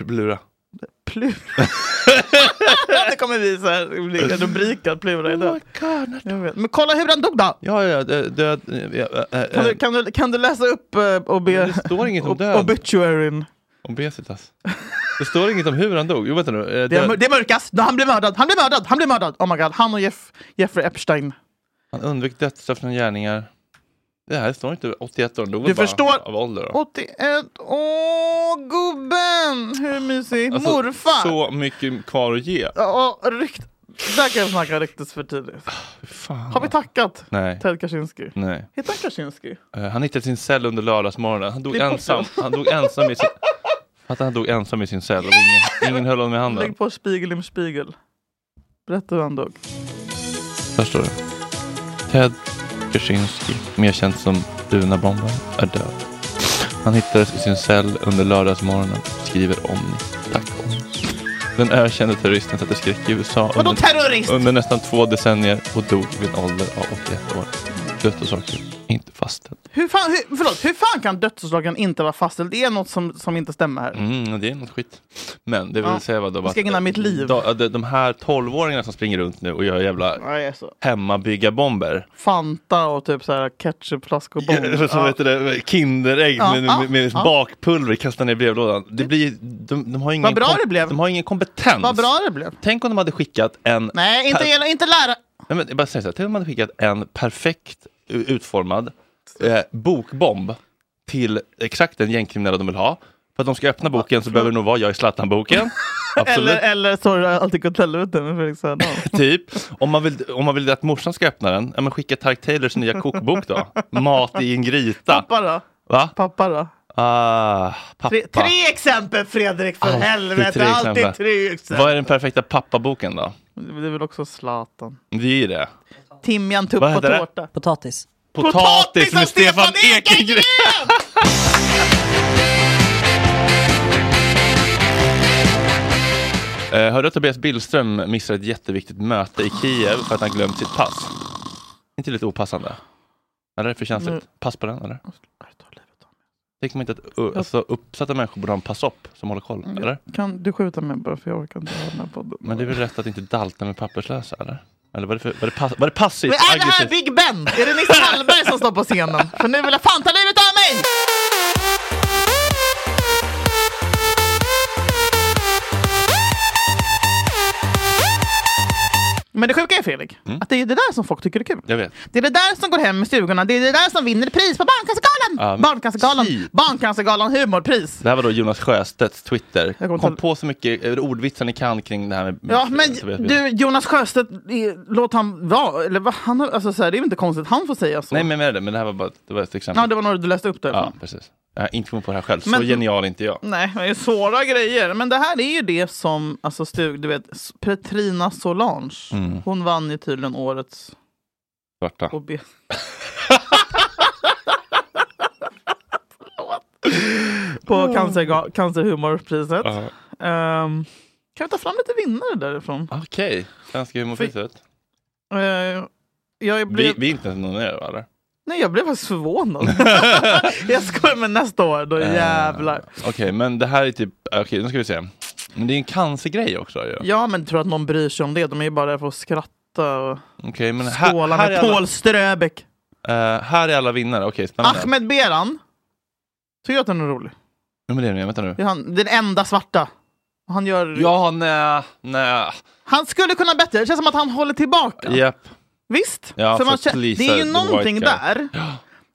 Speaker 2: Plura.
Speaker 1: Plura. det kommer bli så här olika rubriker. Plura är
Speaker 2: Oh my
Speaker 1: död.
Speaker 2: god.
Speaker 1: Jag vet. Men kolla hur han dog då!
Speaker 2: Ja, ja, dö- död. eh, ja, eh, eh,
Speaker 1: Kan du, kan du, kan du läsa upp eh, och be...
Speaker 2: Men det står inget om
Speaker 1: ob-
Speaker 2: död.
Speaker 1: Obituaryn.
Speaker 2: Obesitas. Det står inget om hur han dog. Jo, vänta nu. Eh,
Speaker 1: Det, är mör-
Speaker 2: död.
Speaker 1: det mörkas! No, han blev mördad! Han blev mördad! Han blev mördad! Oh my god, han och Jeff, Jeffrey Epstein.
Speaker 2: Han undvek dödsstraff från gärningar. Det här står inte 81 år, dog
Speaker 1: Du
Speaker 2: väl bara
Speaker 1: förstår-
Speaker 2: av ålder. Då.
Speaker 1: 81 Åh, gubben! Hur mysigt?
Speaker 2: Alltså,
Speaker 1: Morfar!
Speaker 2: Så mycket kvar att ge.
Speaker 1: Ja, och rykt... Där kan jag snacka ryktes för tidigt.
Speaker 2: Fan.
Speaker 1: Har vi tackat
Speaker 2: Nej.
Speaker 1: Ted Kaczynski?
Speaker 2: Nej.
Speaker 1: Heter han Kaczynski?
Speaker 2: Eh, han hittade sin cell under lördagsmorgonen. Han dog
Speaker 1: Det är
Speaker 2: ensam.
Speaker 1: borta.
Speaker 2: Han dog ensam i sin... Fattar han dog ensam i sin cell och ingen, ingen höll honom i handen.
Speaker 1: Lägg på Spiegel im Spiegel. Berätta hur han dog.
Speaker 2: Där står det. Ted Kaczynski, mer känd som Lunabombaren, är död. Han hittades i sin cell under lördagsmorgonen, skriver Omni. Tack Omni. Den ökände terroristen satte skräck i USA
Speaker 1: Vadå
Speaker 2: under,
Speaker 1: terrorist?
Speaker 2: under nästan två decennier och dog vid en ålder av 81 år. Dödsorsaken inte fastställd.
Speaker 1: Hur fan, hur, förlåt, hur fan kan dödsorsaken inte vara fastställd? Det är något som, som inte stämmer här.
Speaker 2: Mm, det är något skit. Men det vill
Speaker 1: Ja.
Speaker 2: säga vad då?
Speaker 1: Jag ska ägna mitt liv.
Speaker 2: Da, de, de här tolvåringarna som springer runt nu och gör jävla
Speaker 1: Nej, alltså.
Speaker 2: hemmabygga-bomber.
Speaker 1: Fanta och typ så här ketchupflaskor och bomber.
Speaker 2: Som
Speaker 1: Ja.
Speaker 2: heter det, Kinderägg
Speaker 1: Ja,
Speaker 2: med,
Speaker 1: ja,
Speaker 2: med, med
Speaker 1: ja.
Speaker 2: bakpulver kastar ner i brevlådan. Det blir, de, de, har ingen
Speaker 1: Vad bra
Speaker 2: kom-
Speaker 1: det blev.
Speaker 2: de har ingen kompetens.
Speaker 1: Vad bra det blev.
Speaker 2: Tänk om de hade skickat en...
Speaker 1: Nej, inte,
Speaker 2: Per-
Speaker 1: gälla- inte lära...
Speaker 2: Nej, men jag bara säger så här, tänk om de hade skickat en perfekt u- utformad eh, bokbomb till exakt den gängkriminella de vill ha. För att de ska öppna boken så behöver det nog vara jag i Zlatan-boken. Absolut.
Speaker 1: Eller, eller sorry, alltid gått helvete med Felix Hernan.
Speaker 2: Typ. Om man, vill, om man vill att morsan ska öppna den, ja, men skicka Tark Taylors nya kokbok då. Mat i en gryta.
Speaker 1: Pappa då?
Speaker 2: Va?
Speaker 1: Pappa då?
Speaker 2: Ah, pappa.
Speaker 1: Tre, tre exempel Fredrik, för
Speaker 2: Alltid
Speaker 1: helvete!
Speaker 2: tre
Speaker 1: alltid
Speaker 2: exempel.
Speaker 1: tre exempel!
Speaker 2: Vad är den perfekta pappaboken då?
Speaker 1: Det är väl också Zlatan.
Speaker 2: Det är ju det.
Speaker 1: Timjan, tupp
Speaker 2: Vad
Speaker 1: och
Speaker 2: heter det?
Speaker 1: tårta.
Speaker 5: Potatis.
Speaker 2: Potatis med Stefan Ekengren! Eh, Hörde att Tobias Billström missar ett jätteviktigt möte i Kiev för att han glömt sitt pass? inte lite opassande? Eller är det för
Speaker 1: Nej.
Speaker 2: känsligt? Pass på den eller? Tänker man inte att uh, alltså, uppsatta människor borde ha en passopp som håller koll?
Speaker 1: Mm.
Speaker 2: Eller?
Speaker 1: Kan du skjuta mig bara för jag orkar inte höra den här podden.
Speaker 2: Men det är väl rätt att inte dalta med papperslösa eller? Eller var det, för, var det, pass, var det passivt?
Speaker 1: Men är det här
Speaker 2: aggressivt?
Speaker 1: Big Ben? Är det Nisse Hallberg som står på scenen? För nu vill jag fan ta livet av mig! Men det sjuka är Fredrik,
Speaker 2: Mm.
Speaker 1: att det är det där som folk tycker är kul.
Speaker 2: Jag vet.
Speaker 1: Det är det där som går hem i stugorna, det är det där som vinner pris på
Speaker 2: Ja,
Speaker 1: Barncancergalan!
Speaker 2: men- typ.
Speaker 1: Barncancergalan,
Speaker 2: Shit.
Speaker 1: Barncancergalan humorpris!
Speaker 2: Det här var då Jonas Sjöstedts Twitter.
Speaker 1: kommer
Speaker 2: Kom
Speaker 1: ta-
Speaker 2: på så mycket eh, ordvitsar ni kan kring det här med
Speaker 1: Ja men
Speaker 2: med Tobias Billström.
Speaker 1: du Jonas Sjöstedt, eh, låt han vara. Eller vad? Han, har- alltså, så här, det är ju inte konstigt, han får säga så.
Speaker 2: Nej men, men, men det här var bara det var ett exempel.
Speaker 1: Ja det var några du läste upp där.
Speaker 2: Ja, precis. Jag har inte kommit på det här själv. Så
Speaker 1: Men-
Speaker 2: genial är inte jag.
Speaker 1: Nej, det är svåra grejer. Men det här är ju det som, alltså Stug, du vet, S- Petrina Solange.
Speaker 2: Mm.
Speaker 1: Hon vann ju tydligen årets
Speaker 2: Svarta.
Speaker 1: OB. Förlåt. På cancer, cancerhumorpriset.
Speaker 2: Ja.
Speaker 1: Ehm, kan vi ta fram lite vinnare därifrån?
Speaker 2: Okej, Svenska humorpriset.
Speaker 1: Eh, jag
Speaker 2: Vi,
Speaker 1: blev,
Speaker 2: vi är inte ens nominerade va, eller?
Speaker 1: Nej, jag blev faktiskt förvånad. jag skojar, men nästa år, då jävlar.
Speaker 2: Eh, Okej, men det här är typ, okej nu ska vi se. Men det är en cancergrej också ju.
Speaker 1: Ja, men tror att någon bryr sig om det? De är ju bara där för att skratta och
Speaker 2: Okej, men här,
Speaker 1: skåla
Speaker 2: här,
Speaker 1: med
Speaker 2: är alla,
Speaker 1: Paul Ströbeck.
Speaker 2: eh, här är alla vinnare. Okej, spännande.
Speaker 1: Ahmed Beran. Tycker du att den är rolig?
Speaker 2: Ja, men det är det, vänta nu.
Speaker 1: Det är han, den enda svarta. Han, gör,
Speaker 2: Ja, nej, nej.
Speaker 1: han skulle kunna bättre. Det känns som att han håller tillbaka.
Speaker 2: Japp.
Speaker 1: Visst?
Speaker 2: Ja,
Speaker 1: för
Speaker 2: för
Speaker 1: man,
Speaker 2: att
Speaker 1: kä-
Speaker 2: pleasa
Speaker 1: det är ju
Speaker 2: the
Speaker 1: någonting
Speaker 2: white guy.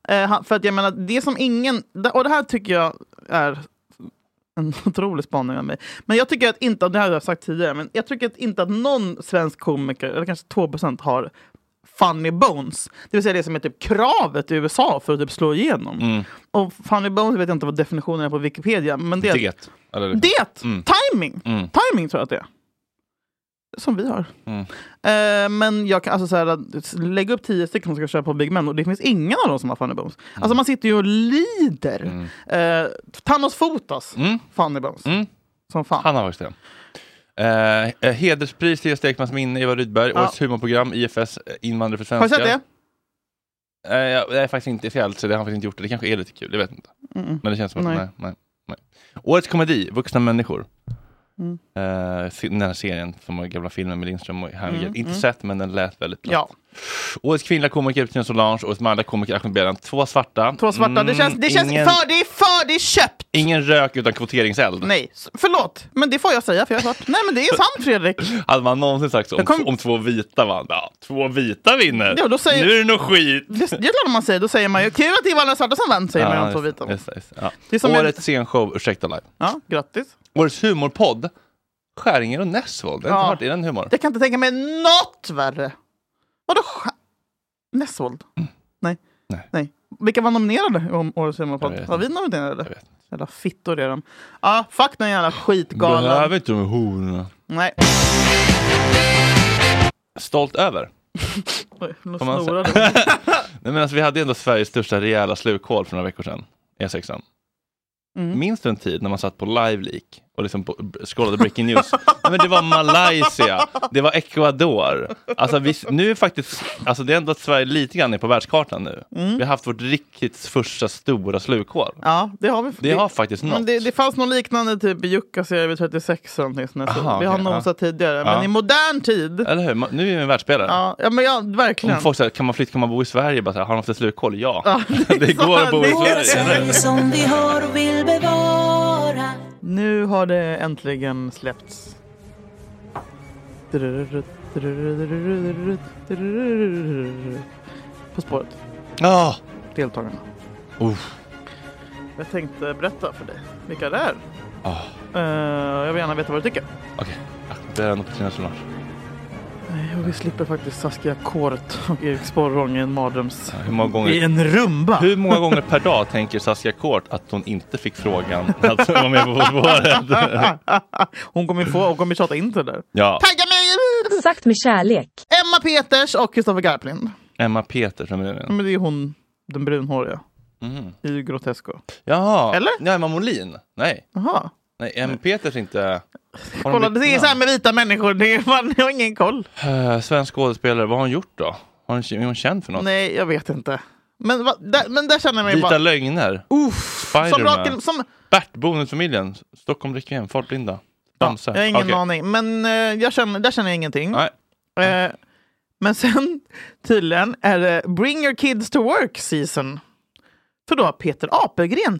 Speaker 1: där. Eh, han- för att jag menar, det som ingen... Och det här tycker jag är en otrolig spaning av mig. Men jag tycker att inte, och det här har jag sagt tidigare, men jag tycker att inte att någon svensk komiker, eller kanske 2% har funny bones. Det vill säga det som är typ kravet i USA för att typ slå igenom.
Speaker 2: Mm.
Speaker 1: Och funny bones vet jag inte vad definitionen är på Wikipedia, men det...
Speaker 2: Det. Eller,
Speaker 1: Det!
Speaker 2: Mm.
Speaker 1: Timing!
Speaker 2: Mm.
Speaker 1: Timing tror jag att det är. Som vi har.
Speaker 2: Mm.
Speaker 1: Eh, men jag kan alltså så här, lägga upp tio stycken som ska köra på Big Men och det finns ingen av dem som har Funny Bones.
Speaker 2: Mm.
Speaker 1: Alltså man sitter ju och lider. Eh, Thanos fotas
Speaker 2: Mm.
Speaker 1: Funny Bones.
Speaker 2: Mm.
Speaker 1: Som fan.
Speaker 2: Han har varit det. Eh, eh, hederspris till Stekmans minne, Eva Rydberg,
Speaker 1: Ja.
Speaker 2: årets humorprogram, IFS eh, Invandrare för
Speaker 1: har du
Speaker 2: svenskar.
Speaker 1: sett det?
Speaker 2: Eh, jag, jag är faktiskt inte fjällt, så det har han faktiskt inte gjort. Det. det kanske är lite kul, jag vet inte.
Speaker 1: Mm.
Speaker 2: Men det känns som att
Speaker 1: Nej.
Speaker 2: nej. Nej, nej, Årets komedi, Vuxna människor.
Speaker 1: Mm.
Speaker 2: Eh, se- den här serien, som var gamla filmen med Lindström och Herngren.
Speaker 1: Mm,
Speaker 2: Inte
Speaker 1: mm.
Speaker 2: sett, men den lät väldigt bra.
Speaker 1: Ja.
Speaker 2: Årets kvinnliga komiker Tina Solange, årets manliga komiker Ahmed Beran. Två svarta.
Speaker 1: Två svarta. det känns, det känns
Speaker 2: Mm, ingen-
Speaker 1: för, det är för, det är köpt!
Speaker 2: Ingen rök utan kvoteringseld.
Speaker 1: Nej, s- förlåt. Men det får jag säga för jag är svart. Nej men det är sant Fredrik.
Speaker 2: Hade man någonsin sagt så om,
Speaker 1: Jag kom-
Speaker 2: om två vita vann? Ja, två vita vinner!
Speaker 1: Ja, då säger-
Speaker 2: Nu är det nog skit!
Speaker 1: Det, det är klart man säger. Då säger man ju kul att det var alla svarta som vann säger man ju om två
Speaker 2: just-
Speaker 1: vita.
Speaker 2: just- just- ja.
Speaker 1: Det är som en-
Speaker 2: Årets scenshow, ursäkta live.
Speaker 1: Ja, grattis.
Speaker 2: Årets humorpodd, Skäringer och Nessvold. Jag har inte
Speaker 1: Ja.
Speaker 2: hört, är den humor?
Speaker 1: Jag kan inte tänka mig något värre. Vadå sk- Nessvold? Nej.
Speaker 2: Mm. Nej.
Speaker 1: Vilka var nominerade om årets
Speaker 2: Jag
Speaker 1: humorpodd?
Speaker 2: vet
Speaker 1: Var vi nominerade?
Speaker 2: vet
Speaker 1: Jävla fittor är de. Ja, fuck den jävla skitgalan.
Speaker 2: Behöver inte de här hororna.
Speaker 1: Nej.
Speaker 2: Stolt över.
Speaker 1: Oj, nu
Speaker 2: Får man
Speaker 1: snorar du.
Speaker 2: Nej, men alltså, vi hade ju ändå Sveriges största rejäla slukhål för några veckor sedan. E6.
Speaker 1: Mm.
Speaker 2: Minns du en tid när man satt på LiveLeak och liksom på- b- scrollade breaking news? Nej, men det var Malaysia, det var Ecuador. Alltså, vi, nu är faktiskt, alltså, det är ändå att Sverige lite grann är på världskartan nu.
Speaker 1: Mm.
Speaker 2: Vi har haft vårt riktigt första stora slukhål.
Speaker 1: Ja, det har vi.
Speaker 2: Det har faktiskt något.
Speaker 1: Men det, det fanns någon liknande typ i Jukkas vid 36 eller någonting sånt. där. Så
Speaker 2: Aha,
Speaker 1: Vi har
Speaker 2: okej, ja.
Speaker 1: nosat tidigare.
Speaker 2: Ja.
Speaker 1: Men i modern tid.
Speaker 2: Eller hur? Man- Nu är vi en världsspelare.
Speaker 1: Ja, ja men ja, verkligen.
Speaker 2: Om folk säger, kan man flytta, kan man bo i Sverige? Bara så här, har de haft ett slukhål? Ja.
Speaker 1: Ja,
Speaker 2: det, går att bo i
Speaker 1: det är
Speaker 2: Sverige.
Speaker 3: Sverige som vi har och vill bevara.
Speaker 1: Nu har det äntligen släppts. På spåret,
Speaker 2: Ja.
Speaker 1: deltagarna.
Speaker 2: Uff.
Speaker 1: Jag tänkte berätta för dig vilka det är.
Speaker 2: Ah.
Speaker 1: Eh, jag vill gärna veta vad du tycker.
Speaker 2: Okej, Ja, det är nog på Tina Solange.
Speaker 1: Nej, Eh, och vi slipper faktiskt Saskia Kåret och Erik Sporrong i en mardröms...
Speaker 2: Hur många
Speaker 1: I
Speaker 2: gånger,
Speaker 1: en rumba!
Speaker 2: hur många gånger per dag tänker Saskia Kort att hon inte fick frågan Alltså, att vara med på På spåret?
Speaker 1: Hon kommer ju få, hon kommer ju tjata in till det där.
Speaker 2: Ja,
Speaker 1: Tagga mig!
Speaker 5: Sagt med kärlek.
Speaker 1: Emma Peters och Kristoffer Garplind.
Speaker 2: Emma Peter som är den.
Speaker 1: Men det är hon, den brunhåriga,
Speaker 2: Mm.
Speaker 1: i Grotesco.
Speaker 2: Jaha,
Speaker 1: Eller?
Speaker 2: Ja, Emma Molin? Nej,
Speaker 1: Jaha.
Speaker 2: Nej Emma Peters inte. Har hon
Speaker 1: Kolla,
Speaker 2: bytt
Speaker 1: det är så här
Speaker 2: namn?
Speaker 1: med vita människor, det är, man har ingen koll.
Speaker 2: Eh, Svensk skådespelare, vad har hon gjort då? Har hon, är hon känd för något?
Speaker 1: Nej, jag vet inte. Men, va, där, men där känner jag mig
Speaker 2: Vita
Speaker 1: bara...
Speaker 2: lögner,
Speaker 1: Uff, som
Speaker 2: Spiderman.
Speaker 1: raken, som,
Speaker 2: Bert, Bonusfamiljen, Stockholm Requiem, Fartblinda,
Speaker 1: ja,
Speaker 2: Bamse.
Speaker 1: jag har ingen
Speaker 2: Okej.
Speaker 1: aning. Men eh, jag känner, där känner jag ingenting.
Speaker 2: Nej.
Speaker 1: Eh, men sen tydligen är det Bring your kids to work season. För då har Peter Apelgren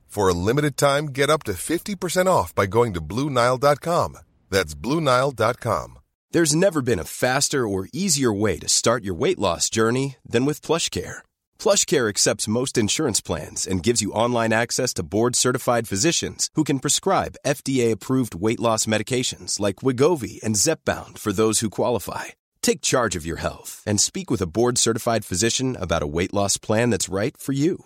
Speaker 8: For a limited time, get up to 50% off by going to BlueNile.com. That's BlueNile.com.
Speaker 9: There's never been a faster or easier way to start your weight loss journey than with PlushCare. PlushCare accepts most insurance plans and gives you online access to board-certified physicians who can prescribe FDA-approved weight loss medications like Wigovi and Zepbound for those who qualify. Take charge of your health and speak with a board-certified physician about a weight loss plan that's right for you.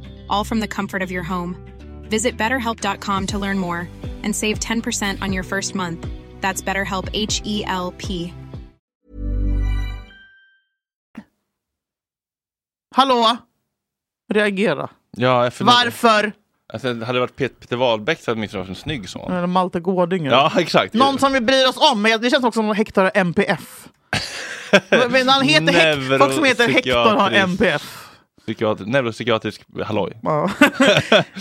Speaker 5: all from the comfort of your home. Visit betterhelp.com to learn more and save 10% on your first month. That's BetterHelp H E L P.
Speaker 1: Hallå? Reagera.
Speaker 2: Ja, jag förlåt.
Speaker 1: Varför?
Speaker 2: Alltså, hade det varit Pet- Peter Wahlbeck så hade min varit en snygg son.
Speaker 1: Eller Malte Gårdinger.
Speaker 2: Ja, exakt.
Speaker 1: Mm. Någon som vi bryr oss om. Men det känns också som att Hector har MPF. Men han heter Hec- folk som heter Hector har
Speaker 2: Neuropsykiatrisk.
Speaker 1: MPF.
Speaker 2: Psykiatri- neuropsykiatrisk halloj.
Speaker 1: Ja.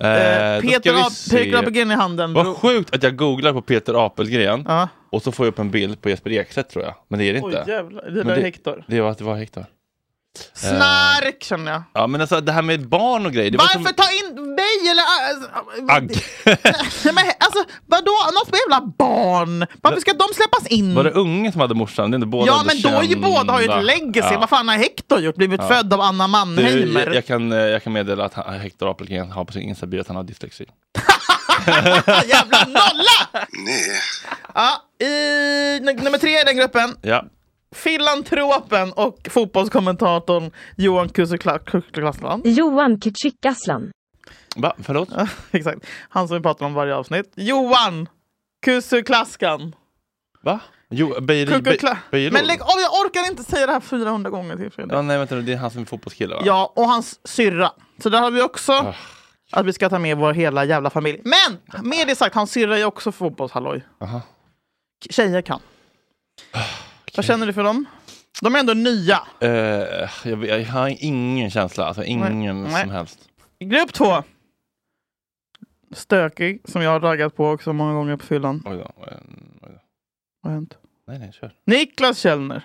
Speaker 2: Eh, då ska vi
Speaker 1: Peter
Speaker 2: se.
Speaker 1: Apelgren i handen. bro.
Speaker 2: Vad sjukt att jag googlar på Peter Apelgren
Speaker 1: Ja.
Speaker 2: och så får jag upp en bild på Jesper Ekstedt tror jag. Men det är det
Speaker 1: Oj
Speaker 2: inte.
Speaker 1: jävlar, det
Speaker 2: Men
Speaker 1: där är
Speaker 2: det- Eh.
Speaker 1: Hector.
Speaker 2: det var att det var Hector.
Speaker 1: Snark känner jag.
Speaker 2: Ja men alltså det här med barn och grejer. Det var
Speaker 1: Varför
Speaker 2: som,
Speaker 1: ta in mig eller eh, alltså,
Speaker 2: Agg.
Speaker 1: Nej, men alltså, vadå? Något med jävla barn! Varför ska de släppas in?
Speaker 2: Var det unge som hade morsan? Det är inte båda
Speaker 1: ja, men då är ju
Speaker 2: kända.
Speaker 1: båda har ju ett legacy.
Speaker 2: Ja.
Speaker 1: Vad fan har Hector gjort? Blivit
Speaker 2: Ja.
Speaker 1: född av Anna
Speaker 2: Du,
Speaker 1: Mannheimer?
Speaker 2: jag, jag, kan, eh, jag kan meddela att han- Hector Apelgren har på sin Insta-bio att han har dyslexi.
Speaker 1: Jävla nolla! Ja, i, n- nummer tre i den gruppen.
Speaker 2: Ja.
Speaker 1: Filantropen och fotbollskommentatorn Johan Kusiklaslan.
Speaker 10: Johan Kücükaslan.
Speaker 2: Va? Förlåt?
Speaker 1: Exakt. Han som vi pratar om varje avsnitt. Johan Kusiklaskan.
Speaker 2: Va? Jo, Beiri- Be- Beirut?
Speaker 1: Men lägg av, jag orkar inte säga det här 400 gånger till Fredrik.
Speaker 2: Ja, nej, vänta, nu, det är han som är fotbollskille va?
Speaker 1: Ja, och hans syrra. Så där har vi också
Speaker 2: Ah.
Speaker 1: att vi ska ta med vår hela jävla familj. Men med det sagt, hans syrra är också fotbollshalloj.
Speaker 2: Aha.
Speaker 1: Tjejer
Speaker 2: Ah,
Speaker 1: kan. Vad känner du för dem? De är ändå nya.
Speaker 2: Eh, jag, vet- jag har ingen känsla, alltså ingen
Speaker 1: Nej.
Speaker 2: som helst.
Speaker 1: Grupp två. Stökig, som jag har raggat på också många gånger på fyllan.
Speaker 2: Oj då, oj då, oj då.
Speaker 1: Vad har hänt?
Speaker 2: Nej, nej, kör.
Speaker 1: Niklas Källner.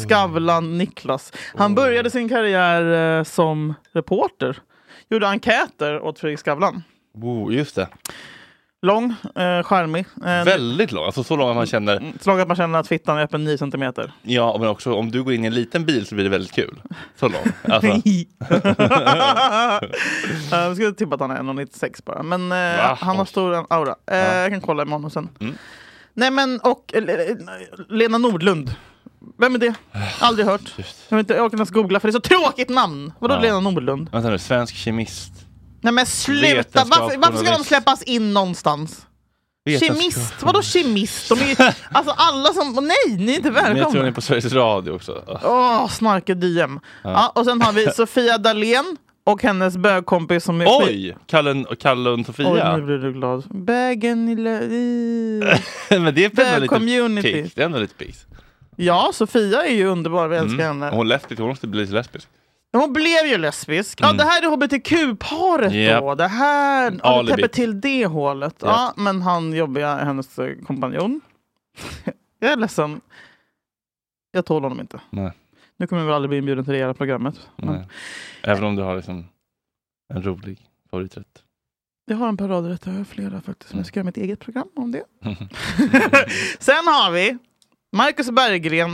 Speaker 1: Skavlan-Niklas. Han började sin karriär eh, som reporter. Gjorde enkäter åt Fredrik Skavlan.
Speaker 2: Oh, just det.
Speaker 1: Lång, eh, charmig. Eh, mm,
Speaker 2: Väldigt lång, alltså så lång att man känner,
Speaker 1: Så lång att man känner att fittan är öppen 9 centimeter.
Speaker 2: ja men också om du går in i en liten bil så blir det väldigt kul. Så lång. Alltså.
Speaker 1: Eh, Jag skulle tippa att han är 1,96 bara. Men
Speaker 2: Va?
Speaker 1: eh,
Speaker 2: Mm.
Speaker 1: han har stor aura. Eh, Jag kan kolla imorgon sen. Nej men och eh, Lena Nordlund. Vem är det?
Speaker 2: Ah,
Speaker 1: Aldrig hört. Jag, vet inte, jag orkar inte ens googla för det är så tråkigt namn. Vadå
Speaker 2: Ja.
Speaker 1: Lena Nordlund?
Speaker 2: Vänta nu, svensk kemist.
Speaker 1: Nej men sluta! Varför, varför ska de
Speaker 2: Vetenskapsjournalist.
Speaker 1: släppas in någonstans?
Speaker 2: Vetenskap-
Speaker 1: Kemist? Vadå kemist? De är ju, alltså alla som... Nej, ni är inte
Speaker 2: Men jag tror
Speaker 1: välkomna!
Speaker 2: ni är på Sveriges Radio också. Ah.
Speaker 1: Åh, snarke DM.
Speaker 2: Ja.
Speaker 1: Ja. och sen har vi Sofia Dalén och hennes bögkompis som är...
Speaker 2: Oj! Kalle, Kalle och Sofia.
Speaker 1: Oj, nu blir du glad. Bögen i... lö- i-
Speaker 2: men det är
Speaker 1: The
Speaker 2: ändå lite
Speaker 1: community.
Speaker 2: pikt. Det är ändå lite pikt.
Speaker 1: Ja, Sofia är ju underbar, vi älskar
Speaker 2: Mm.
Speaker 1: henne.
Speaker 2: Hon är lesbisk, hon måste bli lesbisk.
Speaker 1: Men Hon blev ju lesbisk. Ja,
Speaker 2: Mm.
Speaker 1: det här är hbtq-paret då.
Speaker 2: Japp.
Speaker 1: Det här ja, det
Speaker 2: Alibi.
Speaker 1: täpper till det hålet. Ja,
Speaker 2: Japp.
Speaker 1: men han jobbiga, hennes eh, kompanjon. jag är ledsen. Jag tål honom inte.
Speaker 2: Nej.
Speaker 1: Nu kommer jag väl aldrig bli inbjuden till det här programmet. Men
Speaker 2: Nej. Även om du har liksom en rolig favoriträtt.
Speaker 1: Jag har en paradrätt, jag har flera faktiskt. Men
Speaker 2: Mm.
Speaker 1: jag ska göra mitt eget program om det. Sen har vi Marcus Berggren.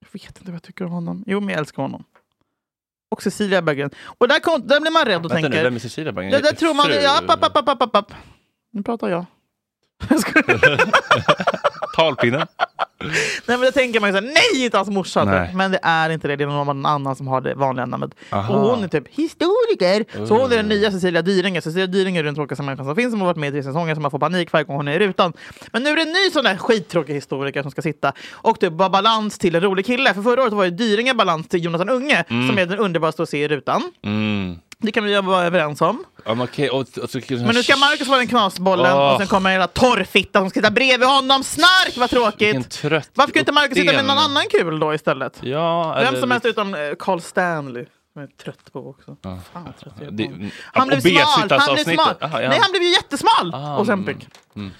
Speaker 1: Jag vet inte vad jag tycker om honom. Jo, men jag älskar honom. Och Cecilia Berggren. Och där, kom, där blir man rädd och
Speaker 2: Vänta nu,
Speaker 1: tänker...
Speaker 2: vem är Cecilia Berggren?
Speaker 1: Det där tror man...
Speaker 2: Fru-
Speaker 1: Ja, app, app, app, app, app, app. Nu pratar jag.
Speaker 2: Talpinnen.
Speaker 1: Nej, men då tänker man ju såhär, nej inte hans morsa! hade det.
Speaker 2: Nej.
Speaker 1: Men det är inte det, det är någon annan som har det vanliga namnet.
Speaker 2: Aha.
Speaker 1: Och hon är typ historiker! Så hon är den
Speaker 2: Mm.
Speaker 1: nya Cecilia Dyringer. Cecilia Dyringer är den tråkigaste människan som finns, som har varit med i tre säsonger, som man får panik varje gång hon är i rutan. Men nu är det en ny sån där skittråkig historiker som ska sitta och typ vara balans till en rolig kille. För förra året var ju Dyringer balans till Jonathan Unge,
Speaker 2: Mm.
Speaker 1: som är den underbaraste att se i rutan.
Speaker 2: Mm.
Speaker 1: Det kan vi ju vara överens om.
Speaker 2: Ja, men okej, och, och, så-
Speaker 1: Men nu ska Marcus vara den knasbollen
Speaker 2: Åh.
Speaker 1: och sen kommer en jävla torrfitta som ska sitta bredvid honom. Snark, vad
Speaker 2: Vilken
Speaker 1: tråkigt!
Speaker 2: trött
Speaker 1: Varför kunde inte Marcus sitta med
Speaker 2: gottdel.
Speaker 1: någon annan kul då istället?
Speaker 2: Ja,
Speaker 1: Vem
Speaker 2: eller
Speaker 1: som helst
Speaker 2: lite-
Speaker 1: utom eh, Carl Stanley. Som jag är trött på också.
Speaker 2: Ja.
Speaker 1: Fan, vad trött jag är på
Speaker 2: Det-
Speaker 1: honom. Mm. han blev smal!
Speaker 2: obesitas-
Speaker 1: Han blev smal!
Speaker 2: avsnittet. Aha, ja.
Speaker 1: Nej, han blev ju jättesmal!
Speaker 2: Ah,
Speaker 1: och sen
Speaker 2: mm, mm.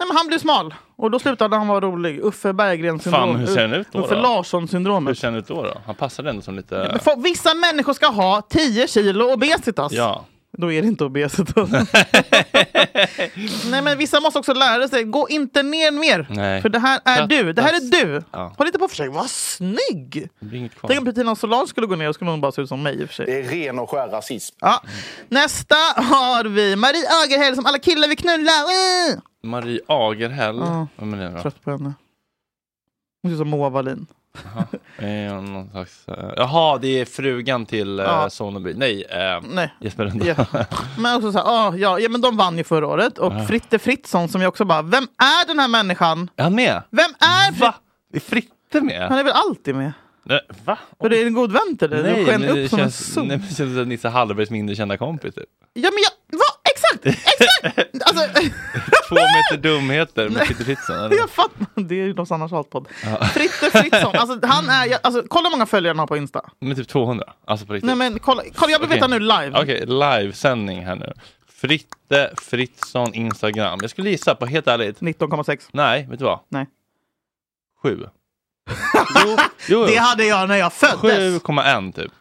Speaker 1: Nej, men han blev smal. Och då slutade han vara rolig. Uffe Berggren syndrom.
Speaker 2: Fan, hur ser han ut då?
Speaker 1: Uffe
Speaker 2: då?
Speaker 1: Larsson-syndromet.
Speaker 2: Hur ser han ut då? då? Han passade ändå som lite...
Speaker 1: Men för- Vissa människor ska ha 10 kilo obesitas.
Speaker 2: Ja.
Speaker 1: Då är det inte obesitas. Nej men vissa måste också lära sig, gå inte ner mer.
Speaker 2: Nej.
Speaker 1: För det här är
Speaker 2: Trött-
Speaker 1: du, det här är du.
Speaker 2: Ja.
Speaker 1: Håll inte på och försök vara snygg.
Speaker 2: Det blir inget kvar.
Speaker 1: Tänk om Petina Solange skulle gå ner, då skulle hon bara se ut som mig i och för sig.
Speaker 11: Det är ren och skär rasism.
Speaker 1: Ja. Nästa har vi Marie Agerhäll som alla killar vill knulla. Mm.
Speaker 2: Marie Agerhäll.
Speaker 1: Ja.
Speaker 2: Vem är det då?
Speaker 1: Trött på henne. Hon ser ut som Moa Wallin.
Speaker 2: Eh, någon slags, eh, jaha, det är frugan till eh,
Speaker 1: Ja.
Speaker 2: Sonneby. Nej, eh,
Speaker 1: Nej.
Speaker 2: Jesper Rönndahl.
Speaker 1: Ja. Men också så här, ah, ja, ja, men de vann ju förra året. Och
Speaker 2: Ja.
Speaker 1: Fritte Fritzson som jag också bara, vem är den här människan?
Speaker 2: Är han med?
Speaker 1: Vem är Fritte?
Speaker 2: Är Fritte
Speaker 1: Han
Speaker 2: med?
Speaker 1: är väl alltid med?
Speaker 2: Nej, Va?
Speaker 1: För det är en god vän till dig? du sken upp som en
Speaker 2: känns,
Speaker 1: sol.
Speaker 2: nej, men det känns som Nisse Hallbergs mindre kända kompis. Typ.
Speaker 1: Ja men jag, va? Exakt! Exakt! Alltså,
Speaker 2: Två meter dumheter med Fritte Fritzson. eller?
Speaker 1: jag fattar. Det är ju någons annars hatpodd.
Speaker 2: Ja.
Speaker 1: Fritte Fritzson, alltså han är, jag- alltså, kolla hur många följare han har på Insta.
Speaker 2: Men typ 200. Alltså på riktigt.
Speaker 1: Nej men kolla, kolla jag vill veta nu
Speaker 2: Okej.
Speaker 1: live.
Speaker 2: Okej, livesändning här nu. Fritte Fritzson Instagram. Jag skulle gissa på, helt ärligt.
Speaker 1: 19,6.
Speaker 2: Nej, vet du vad?
Speaker 1: Nej.
Speaker 2: 7. jo, jo,
Speaker 1: Det hade jag när jag föddes.
Speaker 2: 7,1 typ.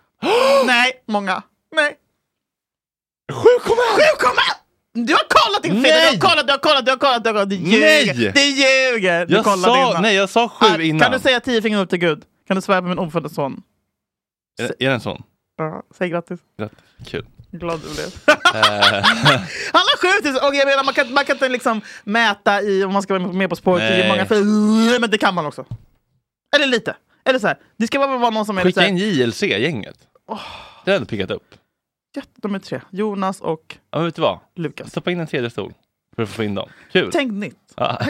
Speaker 1: Nej, många. Nej. 7,1! Du har kollat din feber, du har kollat, du har kollat, du har kollat, du har kollat. Du ljuger!
Speaker 2: Nej!
Speaker 1: Du ljuger! Du
Speaker 2: Jag
Speaker 1: kollade
Speaker 2: sa-
Speaker 1: innan.
Speaker 2: nej, jag sa sju
Speaker 1: Ah,
Speaker 2: innan.
Speaker 1: Kan du säga tio fingrar upp till Gud? Kan du svära på min ofödda son?
Speaker 2: Är, är det en sån?
Speaker 1: Ja, säg grattis.
Speaker 2: Grattis. Kul.
Speaker 1: Glad du blev.
Speaker 2: Eh,
Speaker 1: Han har skjutit! Och jag menar, man, kan, man kan inte liksom mäta i, om man ska vara med På spåret,
Speaker 2: Nej.
Speaker 1: hur många fel- Men det kan man också. Eller lite. Eller så här. Det ska bara vara någon som är lite så
Speaker 2: Skicka
Speaker 1: här,
Speaker 2: in JLC-gänget. Det hade piggat upp.
Speaker 1: jätte- De är tre. Jonas och...
Speaker 2: Ja, men vet du vad?
Speaker 1: Lukas.
Speaker 2: Stoppa in en tredje stol för att få in dem. Kul.
Speaker 1: Tänk nytt.
Speaker 2: Ja.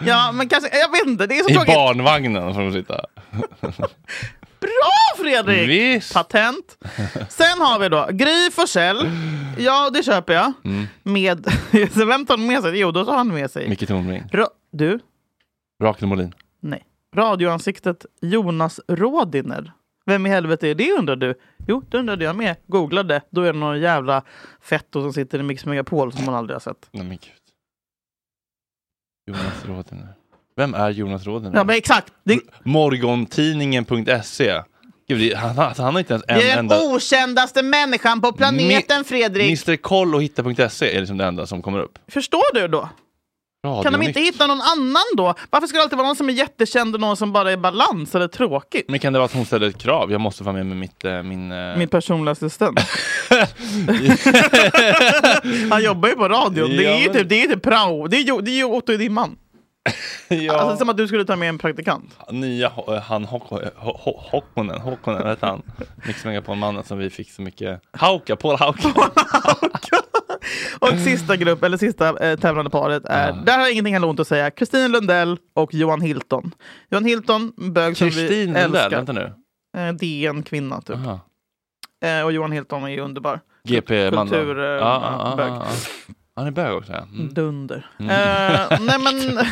Speaker 1: Ja, men kanske... Jag vet inte, det är så
Speaker 2: I
Speaker 1: tråkigt.
Speaker 2: barnvagnen får de sitta.
Speaker 1: Bra Fredrik! Patent. Sen har vi då Gry Forssell. Ja, det köper jag.
Speaker 2: Mm.
Speaker 1: Med... så Vem tar han med sig? Jo, då tar han med sig...
Speaker 2: Micke Tornving.
Speaker 1: Ra- du?
Speaker 2: Rakel Molin.
Speaker 1: Nej. Radioansiktet Jonas Rådiner. Vem i helvete är det undrar du? Jo, det undrade jag med. Googlade. Då är det någon jävla fetto som sitter i Mix Megapol som man aldrig har sett.
Speaker 2: Nej men gud. Jonas Rådiner. Vem är Jonas Rådiner?
Speaker 1: Ja, men exakt. Det,
Speaker 2: Morgontidningen.se. E. Gud, det- han, alltså, han, han har inte ens en
Speaker 1: det är den
Speaker 2: enda...
Speaker 1: okändaste människan på planeten, Fredrik.
Speaker 2: Mr Koll och hitta.se är liksom det enda som kommer upp.
Speaker 1: Förstår du då? Kan de
Speaker 2: Radionytt.
Speaker 1: inte hitta någon annan då? Varför ska det alltid vara någon som är jättekänd och någon som bara är balans eller tråkig?
Speaker 2: Men kan det vara att hon ställde ett krav? Jag måste vara med med mitt... eh, Min, eh,
Speaker 1: Min personliga assistent. Han jobbar ju på radion. Det är
Speaker 2: Ja,
Speaker 1: ju
Speaker 2: men-
Speaker 1: typ, det är ju typ prao. Det är ju, det är ju Otto i din man.
Speaker 2: ja,
Speaker 1: Alltså som att du skulle ta med en praktikant.
Speaker 2: Nya Ho- eh, han Håkon- Ho- Ho- Håkonen, Håkonen vad heter han? Mix Megapol-mannen som vi fick så mycket... Hauka, Paul Hauka.
Speaker 1: Och sista grupp, eller sista eh, tävlande paret är, där har jag ingenting heller ont att säga, Kristin Lundell och Johan Hilton. Johan Hilton, bög som vi
Speaker 2: Kristin Lundell,
Speaker 1: älskar.
Speaker 2: vänta nu.
Speaker 1: Eh, DN-kvinna typ.
Speaker 2: Aha.
Speaker 1: Eh, och Johan Hilton är ju underbar.
Speaker 2: GP Mandal.
Speaker 1: Kultur, eh,
Speaker 2: Ja, ja, ja,
Speaker 1: bög.
Speaker 2: ja. Han är bög också. ja. Mm.
Speaker 1: Dunder.
Speaker 2: Mm.
Speaker 1: Eh, nej men,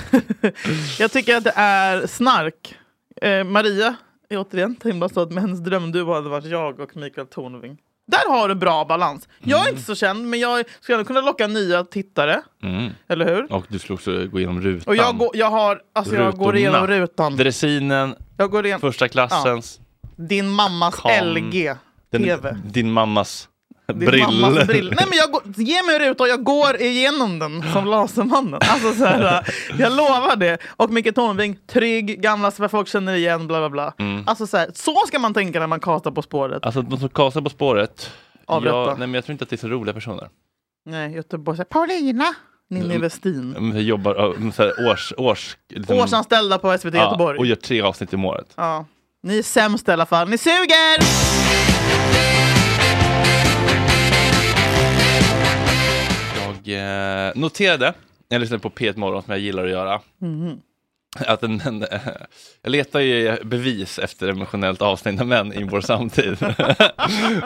Speaker 1: jag tycker att det är snark. Eh, Maria är återigen så himla stolt, men hennes drömduo hade varit jag och Mikael Tornving. Där har du bra balans. Jag är inte så känd, men jag skulle ändå kunna locka nya tittare.
Speaker 2: Mm.
Speaker 1: Eller hur?
Speaker 2: Och du skulle också gå igenom rutan.
Speaker 1: Och jag, går, jag, har, alltså jag går
Speaker 2: Rutorna.
Speaker 1: igenom rutan.
Speaker 2: Dressinen,
Speaker 1: Jag går igenom.
Speaker 2: första klassens,
Speaker 1: Din mammas
Speaker 2: Kom.
Speaker 1: LG. TV.
Speaker 2: den, din mammas
Speaker 1: Din
Speaker 2: brill.
Speaker 1: mammas brill. Nej, men jag går, ge mig rutan och jag går igenom den som Lasermannen. Alltså, så här, jag lovar det. Och Micke Tornving, trygg, gamla som folk känner igen, bla bla bla.
Speaker 2: Mm.
Speaker 1: Alltså, så, här, så ska man tänka när man kastar På spåret.
Speaker 2: Alltså de som kasar På spåret,
Speaker 1: Avrätta.
Speaker 2: jag, nej, men jag tror inte att det är så roliga personer.
Speaker 1: Nej, Göteborg, så här, Paulina, Ninni
Speaker 2: Mm.
Speaker 1: Westin.
Speaker 2: De jobbar ö, med så här års, års, liksom,
Speaker 1: Årsanställda på SVT
Speaker 2: ja,
Speaker 1: Göteborg.
Speaker 2: och gör tre avsnitt om året.
Speaker 1: Ja. Ni är sämst i alla fall. Ni suger!
Speaker 2: Jag eh, noterade, jag lyssnade på P1 Morgon som jag gillar att göra,
Speaker 1: Mhm.
Speaker 2: att en, en, eh, jag letar ju bevis efter emotionellt avstängda män i vår samtid.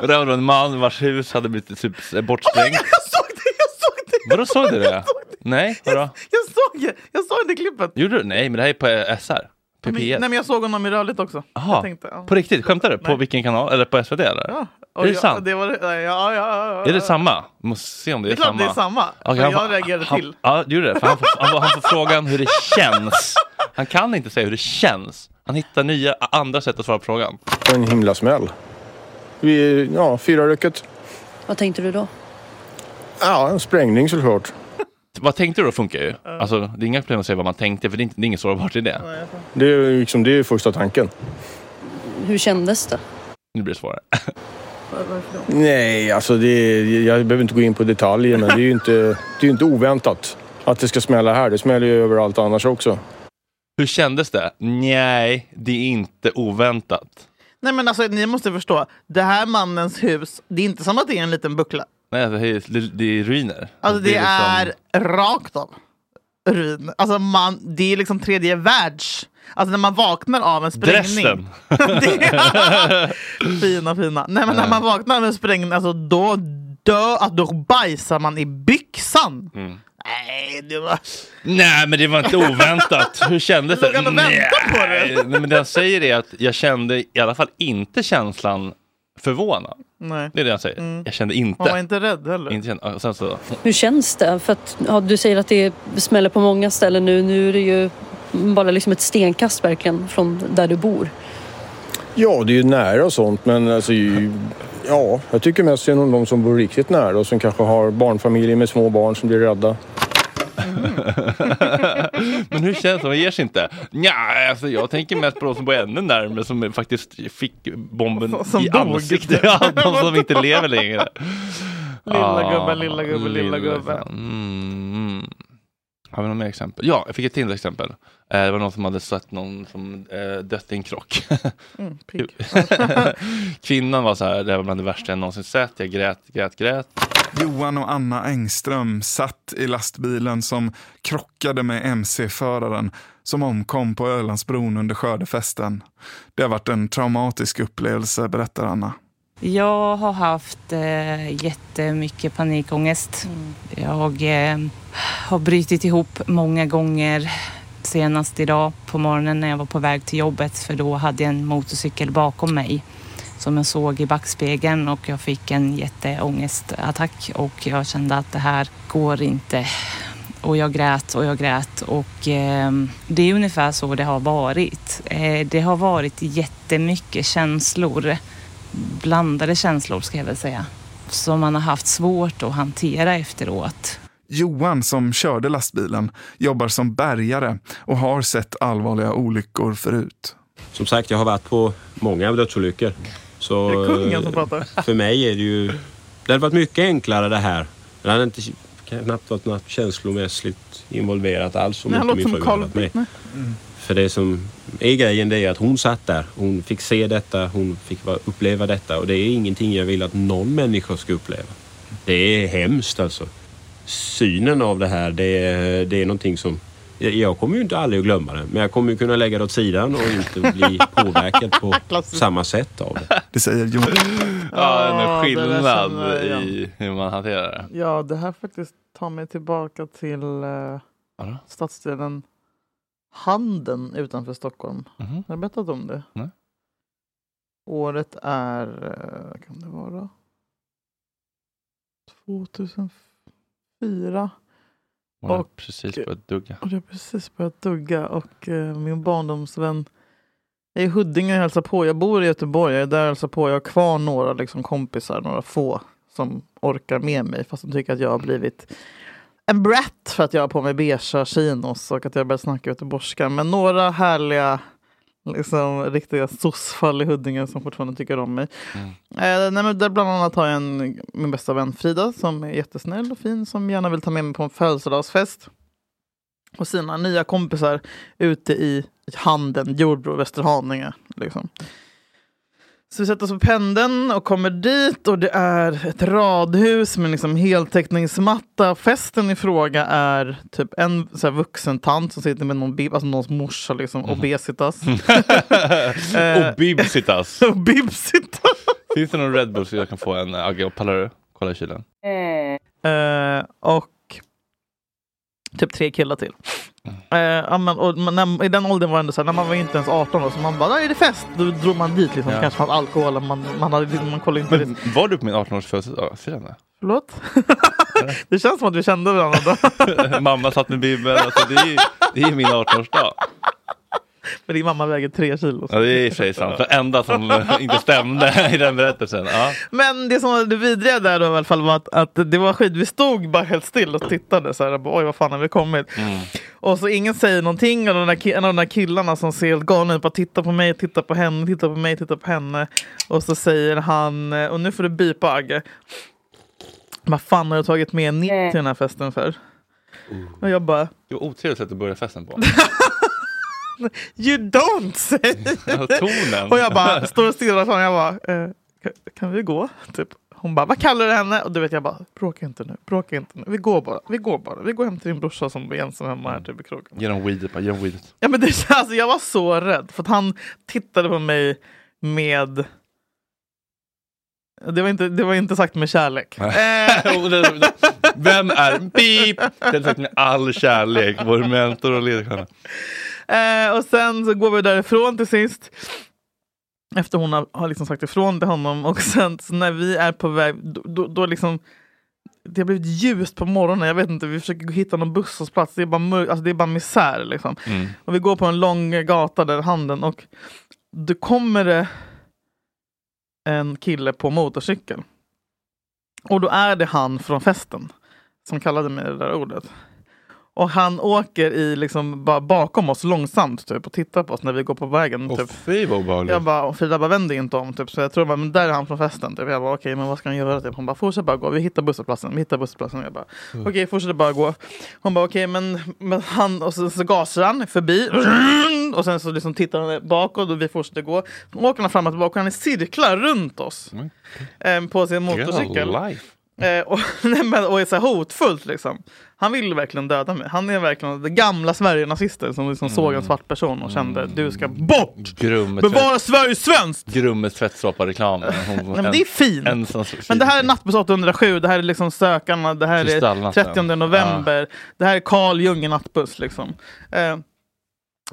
Speaker 2: Och det var då en man vars hus hade blivit typ bortsprängt.
Speaker 1: Jag såg det, jag såg det!
Speaker 2: Vadå, såg du det? Nej, vadå?
Speaker 1: Jag såg det, jag såg det klippet.
Speaker 2: Gjorde du? Nej, men det här är på eh, SR.
Speaker 1: Men- Nej,
Speaker 2: PP1.
Speaker 1: men jag såg honom i Rörligt också.
Speaker 2: Jaha,
Speaker 1: Jag tänkte, ja.
Speaker 2: på riktigt? Skämtar du? På vilken kanal? Eller på SVT eller?
Speaker 1: Ja.
Speaker 2: Är det
Speaker 1: jag,
Speaker 2: sant?
Speaker 1: Det var, ja, ja, ja, ja.
Speaker 2: Är det samma? Måste se om det är,
Speaker 1: Det är klart
Speaker 2: samma.
Speaker 1: det är samma. Men
Speaker 2: han
Speaker 1: jag
Speaker 2: får-
Speaker 1: reagerade
Speaker 2: han,
Speaker 1: till.
Speaker 2: Ja, du gjorde det. För han, får, han, får- han får frågan hur det känns. Han kan inte säga hur det känns. Han hittar nya, andra sätt att svara på frågan.
Speaker 11: En himla smäll. Vi, ja, fyra rycket.
Speaker 12: Vad tänkte du då?
Speaker 11: Ja, en sprängning såklart.
Speaker 2: Vad tänkte du då funkar ju. Alltså, det är inga problem att säga vad man tänkte, för det är, inte, det är inget sårbart i det.
Speaker 11: Det är ju liksom, det är ju första tanken.
Speaker 12: Hur kändes det?
Speaker 2: Nu blir det svårare.
Speaker 11: Nej, alltså det, jag behöver inte gå in på detaljer, men det är ju inte, det är ju inte oväntat att det ska smälla här. Det smäller ju överallt annars också.
Speaker 2: Hur kändes det? Nej, det är inte oväntat.
Speaker 1: Nej men alltså ni måste förstå, det här mannens hus, det är inte som att det är en liten buckla.
Speaker 2: Nej, det är, det är ruiner.
Speaker 1: Alltså det, är,
Speaker 2: liksom-
Speaker 1: rakt av ruin. Alltså man, det är liksom tredje världs... Alltså när man vaknar av en sprängning.
Speaker 2: Dresden.
Speaker 1: Det är- fina fina. Nej men när man vaknar av en sprängning, alltså då dö, att då bajsar man i byxan.
Speaker 2: Mm.
Speaker 1: Nej, det var...
Speaker 2: Nej, men det var inte oväntat. Hur kändes det?
Speaker 1: Låg han och väntade på det?
Speaker 2: Nej, Nej, men det jag säger är att jag kände i alla fall inte känslan förvånad.
Speaker 1: Nej.
Speaker 2: Det är det jag säger.
Speaker 1: Mm.
Speaker 2: Jag kände inte.
Speaker 1: Man var inte rädd heller.
Speaker 2: inte känd, och sen så,
Speaker 12: Hur känns det? För att, ja, du säger att det smäller på många ställen nu. Nu är det ju bara liksom ett stenkast verkligen från där du bor.
Speaker 11: Ja, det är ju nära och sånt, men alltså, ju- Ja, jag tycker mest synd om de som bor riktigt nära och som kanske har barnfamiljer med små barn som blir rädda.
Speaker 2: Men hur känns det? De ger sig inte? Nja, alltså jag tänker mest på de som bor ännu närmare som faktiskt fick bomben
Speaker 1: Som
Speaker 2: i
Speaker 1: dog.
Speaker 2: ansiktet. Ja, de som inte lever längre.
Speaker 1: Lilla
Speaker 2: Ah,
Speaker 1: gubben, lilla gubben, lilla gubben.
Speaker 2: Mm, mm. Har vi något mer exempel? Ja, jag fick ett till exempel. Eh, Det var någon som hade sett någon som eh, dött i en krock.
Speaker 1: Mm, pigg.
Speaker 2: Kvinnan var så här, det här var bland det värsta jag någonsin sett. Jag grät, grät, grät.
Speaker 13: Johan och Anna Engström satt i lastbilen som krockade med mc-föraren som omkom på Ölandsbron under skördefesten. Det har varit en traumatisk upplevelse, berättar Anna.
Speaker 14: Jag har haft eh, jättemycket panikångest. Jag eh, har brutit ihop många gånger. Senast idag på morgonen när jag var på väg till jobbet för då hade jag en motorcykel bakom mig som jag såg i backspegeln och jag fick en jätteångestattack och jag kände att det här går inte. Och jag grät och jag grät och eh, det är ungefär så det har varit. Eh, det har varit jättemycket känslor blandade känslor ska jag väl säga. Som man har haft svårt att hantera efteråt.
Speaker 13: Johan som körde lastbilen jobbar som bärgare och har sett allvarliga olyckor förut.
Speaker 15: Som sagt, jag har varit på många dödsolyckor. Så,
Speaker 13: Är det kungen som
Speaker 15: eh,
Speaker 13: pratar?
Speaker 15: För mig är det ju... Det hade varit mycket enklare det här. Det hade inte, knappt varit något känslomässigt involverat alls om
Speaker 1: Nej, han
Speaker 15: inte
Speaker 1: låter
Speaker 15: min
Speaker 1: som
Speaker 15: fru hade varit
Speaker 1: Carl
Speaker 15: med. För det som är grejen det är att hon satt där. Hon fick se detta, hon fick va- uppleva detta och det är ingenting jag vill att någon människa ska uppleva. Det är hemskt alltså. Synen av det här, det är, det är någonting som... jag- Jag kommer ju inte aldrig att glömma det, men jag kommer ju kunna lägga det åt sidan och inte bli påverkad på samma sätt av det.
Speaker 13: Det säger Jon.
Speaker 2: Ja, den är
Speaker 1: Ja, det där
Speaker 2: skillnad
Speaker 1: känner jag igen.
Speaker 2: i hur man hanterar det.
Speaker 1: Ja, det här faktiskt tar mig tillbaka till uh, stadsdelen Handen utanför Stockholm.
Speaker 2: Mhm.
Speaker 1: Har jag berättat om det?
Speaker 2: Nej.
Speaker 1: Året är, eh, vad kan det vara? 2004.
Speaker 2: Hon har
Speaker 1: Och-
Speaker 2: precis börjat dugga.
Speaker 1: Och jag har precis börjat dugga och eh, min barndomsvän jag är i Huddinge och hälsar på. Jag bor i Göteborg, jag är där och hälsar på. Jag har kvar några liksom, kompisar, några få som orkar med mig fast de tycker att jag har blivit en brat för att jag har på mig beigea chinos och att jag börjar snacka göteborgska. Men några härliga liksom, riktiga sossfall i Huddinge som fortfarande tycker om mig. Eh, nej, men där bland annat har jag en, min bästa vän Frida som är jättesnäll och fin som gärna vill ta med mig på en födelsedagsfest och sina nya kompisar ute i handeln, Jordbro, Västerhaninge. Liksom. Så vi sätter oss på pendeln och kommer dit och det är ett radhus med liksom heltäckningsmatta. Festen i fråga är typ en så här, vuxen tant som sitter med någon, bib- alltså någons morsa, liksom, obesitas. Eh,
Speaker 2: och bibsitas.
Speaker 1: och bibsitas.
Speaker 2: Finns det någon Red Bull så jag kan få en? eh, Agge, pallar du? Kolla i kylen.
Speaker 1: Eh, och typ tre killar till.
Speaker 2: Mm.
Speaker 1: Eh, ja, men, och, man- när, I den åldern var det ändå så här, när man var inte ens 18 då, så man bara, där är det fest! Då drog man dit liksom,
Speaker 2: Ja.
Speaker 1: kanske fanns alkohol, och man, man, hade, man kollade inte
Speaker 2: Men var du på min 18-års födelsedagsfirande?
Speaker 1: Förlåt? det känns som att vi kände varandra då.
Speaker 2: Mamma satt med bibeln. Alltså, det, är, ju- det är min 18-årsdag.
Speaker 1: Men din mamma väger tre kilo.
Speaker 2: Ja, det är i och för sig sant. Det enda som eh, inte stämde i den berättelsen. Ja.
Speaker 1: Men det som var det vidriga där då i alla fall var att, att det var skit. Vi stod bara helt still och tittade så här. Bara, Oj, vad fan har vi kommit? Och så ingen säger någonting. Och de där, ki- en av de där killarna som ser helt galen ut bara tittar på mig, tittar på henne, tittar på mig, tittar på henne. Och så säger han, eh, och nu får du bipa Agge. Vad fan har du tagit med ner till den här festen för? Och jag bara,
Speaker 2: Det var otrevligt sätt att börja festen på.
Speaker 1: you don't say!
Speaker 2: Tonen.
Speaker 1: Och jag bara står och stirrar på honom. Jag bara, eh, kan, kan vi gå? Typ. Hon bara, vad kallar du henne? Och du vet jag bara, bråka inte nu, bråka inte nu. Vi går bara, vi går bara. Vi går hem till din brorsa som är ensam hemma här typ i krogen.
Speaker 2: Ge dem weedet bara, ge dem weedet.
Speaker 1: Ja, men det, alltså, jag var så rädd för att han tittade på mig med... Det var inte, det var inte sagt med kärlek.
Speaker 2: Och det- det- Vem är beep? Den sagt med all kärlek, vår mentor och ledstjärna.
Speaker 1: Eh, och sen så går vi därifrån till sist. Efter hon har, har liksom sagt ifrån till honom. Och sen så när vi är på väg, då, då, då liksom... Det har blivit ljust på morgonen. Jag vet inte, vi försöker hitta någon busshållplats. Det är bara, mörk, alltså det är bara misär liksom.
Speaker 2: Mm.
Speaker 1: Och vi går på en lång gata där handen och då kommer det en kille på motorcykel. Och då är det han från festen som kallade mig det där ordet. Och han åker i liksom bara bakom oss långsamt typ, och tittar på oss när vi går på vägen.
Speaker 2: Åh
Speaker 1: typ.
Speaker 2: fy vad obehagligt.
Speaker 1: Jag bara, och Frida bara vänd dig inte om. Typ. Så jag tror bara, men där är han från festen. Typ. Jag bara okej, men vad ska han göra? Typ. Hon bara fortsätt bara gå, vi hittar busshållplatsen. Vi hittar busshållplatsen. Jag bara
Speaker 2: Mm.
Speaker 1: okej, fortsätt bara gå. Hon bara okej, men, men han, och så, så gasar han förbi. Och sen så liksom tittar han bakåt och vi fortsätter gå. Sen åker han fram och tillbaka, han är cirklar runt oss. Eh, på sin motorcykel.
Speaker 2: life.
Speaker 1: Eh, och, nej, men, och är så här hotfullt liksom. Han vill verkligen döda mig. Han är verkligen den gamla Sverige-nazister som liksom såg en svart person och kände du ska bort!
Speaker 2: Grummet
Speaker 1: Bevara Sverige svenskt!
Speaker 2: Grummet tvättsåpa-reklam.
Speaker 1: men det är fint. Men det här är Nattbuss 807, det här är liksom Sökarna, det här är
Speaker 2: Kristallnatten.
Speaker 1: 30 november, det här är Carl Jung i Nattbuss. Liksom. Eh,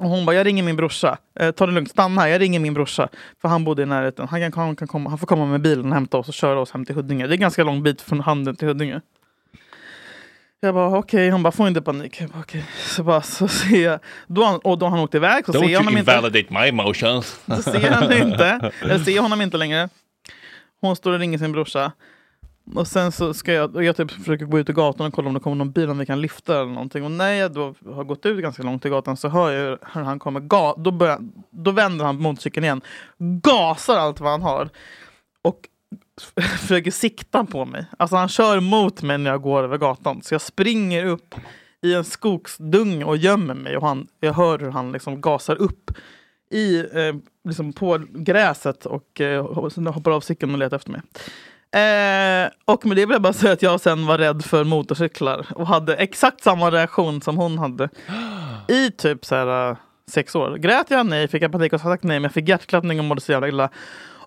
Speaker 1: och hon bara, jag ringer min brorsa. Eh, ta det lugnt, stanna här, jag ringer min brorsa. För han bodde i närheten. Han, kan, han, kan komma, han får komma med bilen och hämta oss och köra oss hem till Huddinge. Det är ganska lång bit från Handen till Huddinge. Jag bara okej, hon bara får inte panik. Jag bara, okej. Så bara så ser jag, då han, och då han åkte iväg så
Speaker 2: Don't
Speaker 1: ser jag
Speaker 2: you
Speaker 1: honom inte.
Speaker 2: invalidate my emotions.
Speaker 1: Så ser jag henne inte. Jag ser honom inte längre. Hon står och ringer sin brorsa. Och sen så ska jag, och jag typ försöker gå ut i gatan och kolla om det kommer någon bil om vi kan lyfta eller någonting. Och när jag då har gått ut ganska långt i gatan så hör jag hur hur han kommer. Ga, då, börjar, då vänder han på motorcykeln igen. Gasar allt vad han har. Och försöker sikta på mig. Alltså han kör mot mig när jag går över gatan. Så jag springer upp i en skogsdung och gömmer mig. Och han, jag hör hur han liksom gasar upp i, eh, liksom på gräset och eh, sen hoppar av cykeln och letar efter mig. Eh, och med det vill jag bara säga att jag sen var rädd för motorcyklar och hade exakt samma reaktion som hon hade i typ så här, eh, sex år. Grät jag? Nej. Fick jag panikångestattack? Nej. Men jag fick hjärtklappning och mådde så jävla illa.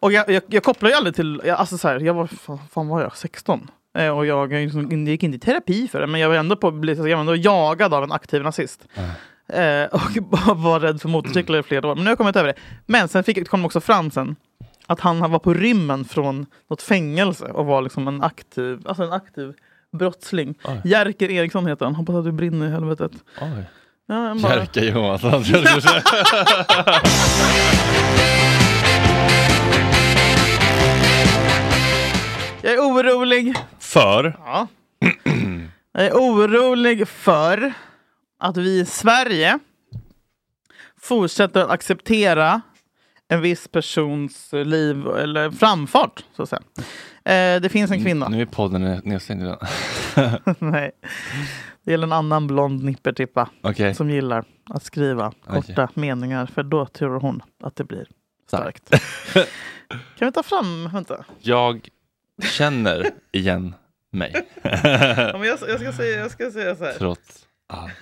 Speaker 1: Och jag, jag, jag kopplar ju aldrig till... Jag, alltså så här, jag var, fan, fan var jag? 16? Eh, och jag liksom, gick inte i terapi för det, men jag var ändå, på, jag var ändå jagad av en aktiv nazist. Eh, och bara var rädd för motorcyklar i flera år. Men nu har jag kommit över det. Men sen fick, kom det också fram sen att han var på rymmen från något fängelse och var liksom en aktiv, alltså en aktiv brottsling.
Speaker 2: Oj.
Speaker 1: Jerker Eriksson heter han. Hoppas att du brinner i helvetet.
Speaker 2: Oj.
Speaker 1: Ja, men bara-
Speaker 2: Jerka Johansson. tror jag du skulle säga.
Speaker 1: Jag är orolig.
Speaker 2: För?
Speaker 1: Ja. Jag är orolig för att vi i Sverige fortsätter att acceptera en viss persons liv eller framfart. Så att säga. Eh, det finns en kvinna.
Speaker 2: Nu är podden nedstängd redan.
Speaker 1: Nej. Det gäller en annan blond nippertippa
Speaker 2: Okej.
Speaker 1: som gillar att skriva
Speaker 2: Okej.
Speaker 1: korta meningar för då tror hon att det blir starkt. kan vi ta fram, vänta.
Speaker 2: Jag känner igen mig.
Speaker 1: Ja, men jag, jag, ska säga, jag ska säga så här.
Speaker 2: Trots allt.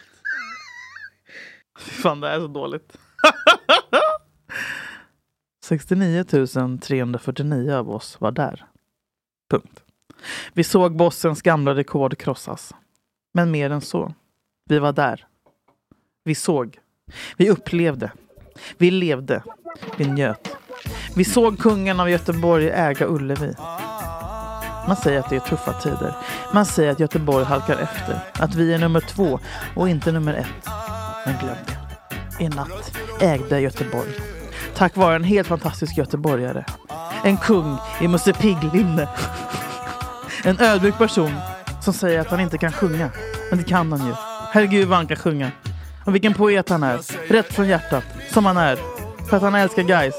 Speaker 1: Fan, det här är så dåligt. 69 349 av oss var där. Punkt. Vi såg bossens gamla rekord krossas. Men mer än så. Vi var där. Vi såg. Vi upplevde. Vi levde. Vi njöt. Vi såg kungen av Göteborg äga Ullevi. Man säger att det är tuffa tider. Man säger att Göteborg halkar efter. Att vi är nummer två och inte nummer ett. Men glöm det. I natt ägde Göteborg. Tack vare en helt fantastisk göteborgare. En kung i Musse Pigg-linne. En ödmjuk person som säger att han inte kan sjunga. Men det kan han ju. Herregud vad han kan sjunga. Och vilken poet han är. Rätt från hjärtat. Som han är. För att han älskar guys.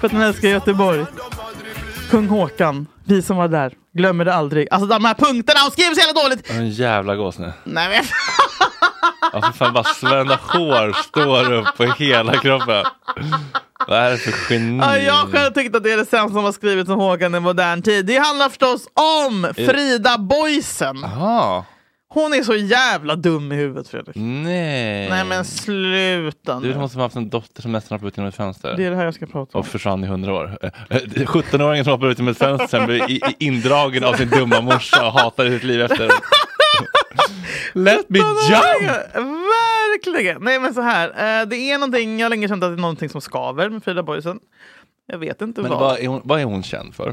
Speaker 1: För att han älskar Göteborg. Kung Håkan. Vi som var där. Glömmer det aldrig. Alltså de här punkterna, de skriver så jävla dåligt!
Speaker 2: Jag har en jävla gås nu.
Speaker 1: Nej men
Speaker 2: Ja, för fan, bara Svenda hår står upp på hela kroppen. Vad är det för geni?
Speaker 1: Ja, jag själv tyckte att det är det sämsta som har skrivits om Håkan i modern tid. Det handlar förstås
Speaker 2: Eh.
Speaker 1: om Frida Boisen.
Speaker 2: Ah.
Speaker 1: Hon är så jävla dum i huvudet Fredrik.
Speaker 2: Nej.
Speaker 1: Nej men sluta
Speaker 2: Du är
Speaker 1: nu.
Speaker 2: hon som har haft en dotter som nästan hoppade ut genom ett fönster.
Speaker 1: Det är det här jag ska prata om.
Speaker 2: Och försvann i hundra år. Eh, eh, 17-åringen som hoppade ut genom ett fönster sen blev i- i- indragen av sin dumma morsa och hatade sitt liv efter. Let me jump!
Speaker 1: Verkligen! Nej men så här. eh, Det är någonting, jag har länge känt att det är någonting som skaver med Frida Boisen. Jag vet inte
Speaker 2: Men
Speaker 1: vad.
Speaker 2: vad är, hon, vad är hon känd för?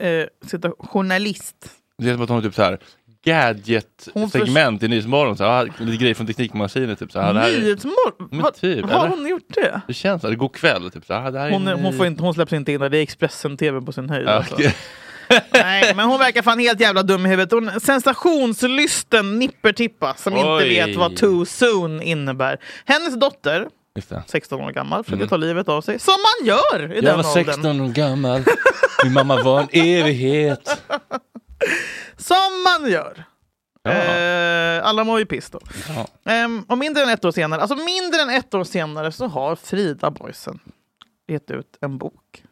Speaker 1: Eh, sitta journalist.
Speaker 2: Det är som att hon är typ så här gadget-segment i Nyhetsmorgon. Så, ah, lite grejer från Teknikmagasinet. Typ, så, ah, det här är-
Speaker 1: Nyhetsmorgon?
Speaker 2: Men
Speaker 1: Vad-
Speaker 2: typ,
Speaker 1: har
Speaker 2: eller?
Speaker 1: hon gjort det?
Speaker 2: Det känns så. här, God kväll. Typ, så, ah, det här är
Speaker 1: Hon, är,
Speaker 2: ny-
Speaker 1: hon, får inte, hon släpps inte in där, det är Expressen-tv på sin höjd.
Speaker 2: Ja,
Speaker 1: Alltså.
Speaker 2: okej.
Speaker 1: Nej, men hon verkar fan helt jävla dum i huvudet. Hon, sensationslysten nippertippa som inte
Speaker 2: Oj.
Speaker 1: vet vad too soon innebär. Hennes dotter,
Speaker 2: Just det.
Speaker 1: 16 år gammal, försöker
Speaker 2: Mm.
Speaker 1: ta livet av sig. Som man gör i
Speaker 2: Jag
Speaker 1: den
Speaker 2: var
Speaker 1: åldern.
Speaker 2: 16 år gammal. Min mamma var en evighet.
Speaker 1: Som man gör.
Speaker 2: Ja.
Speaker 1: Eh, alla mår ju piss då.
Speaker 2: Ja.
Speaker 1: Ehm, och mindre än ett år senare, alltså mindre än ett år senare så har Frida Boisen gett ut en bok.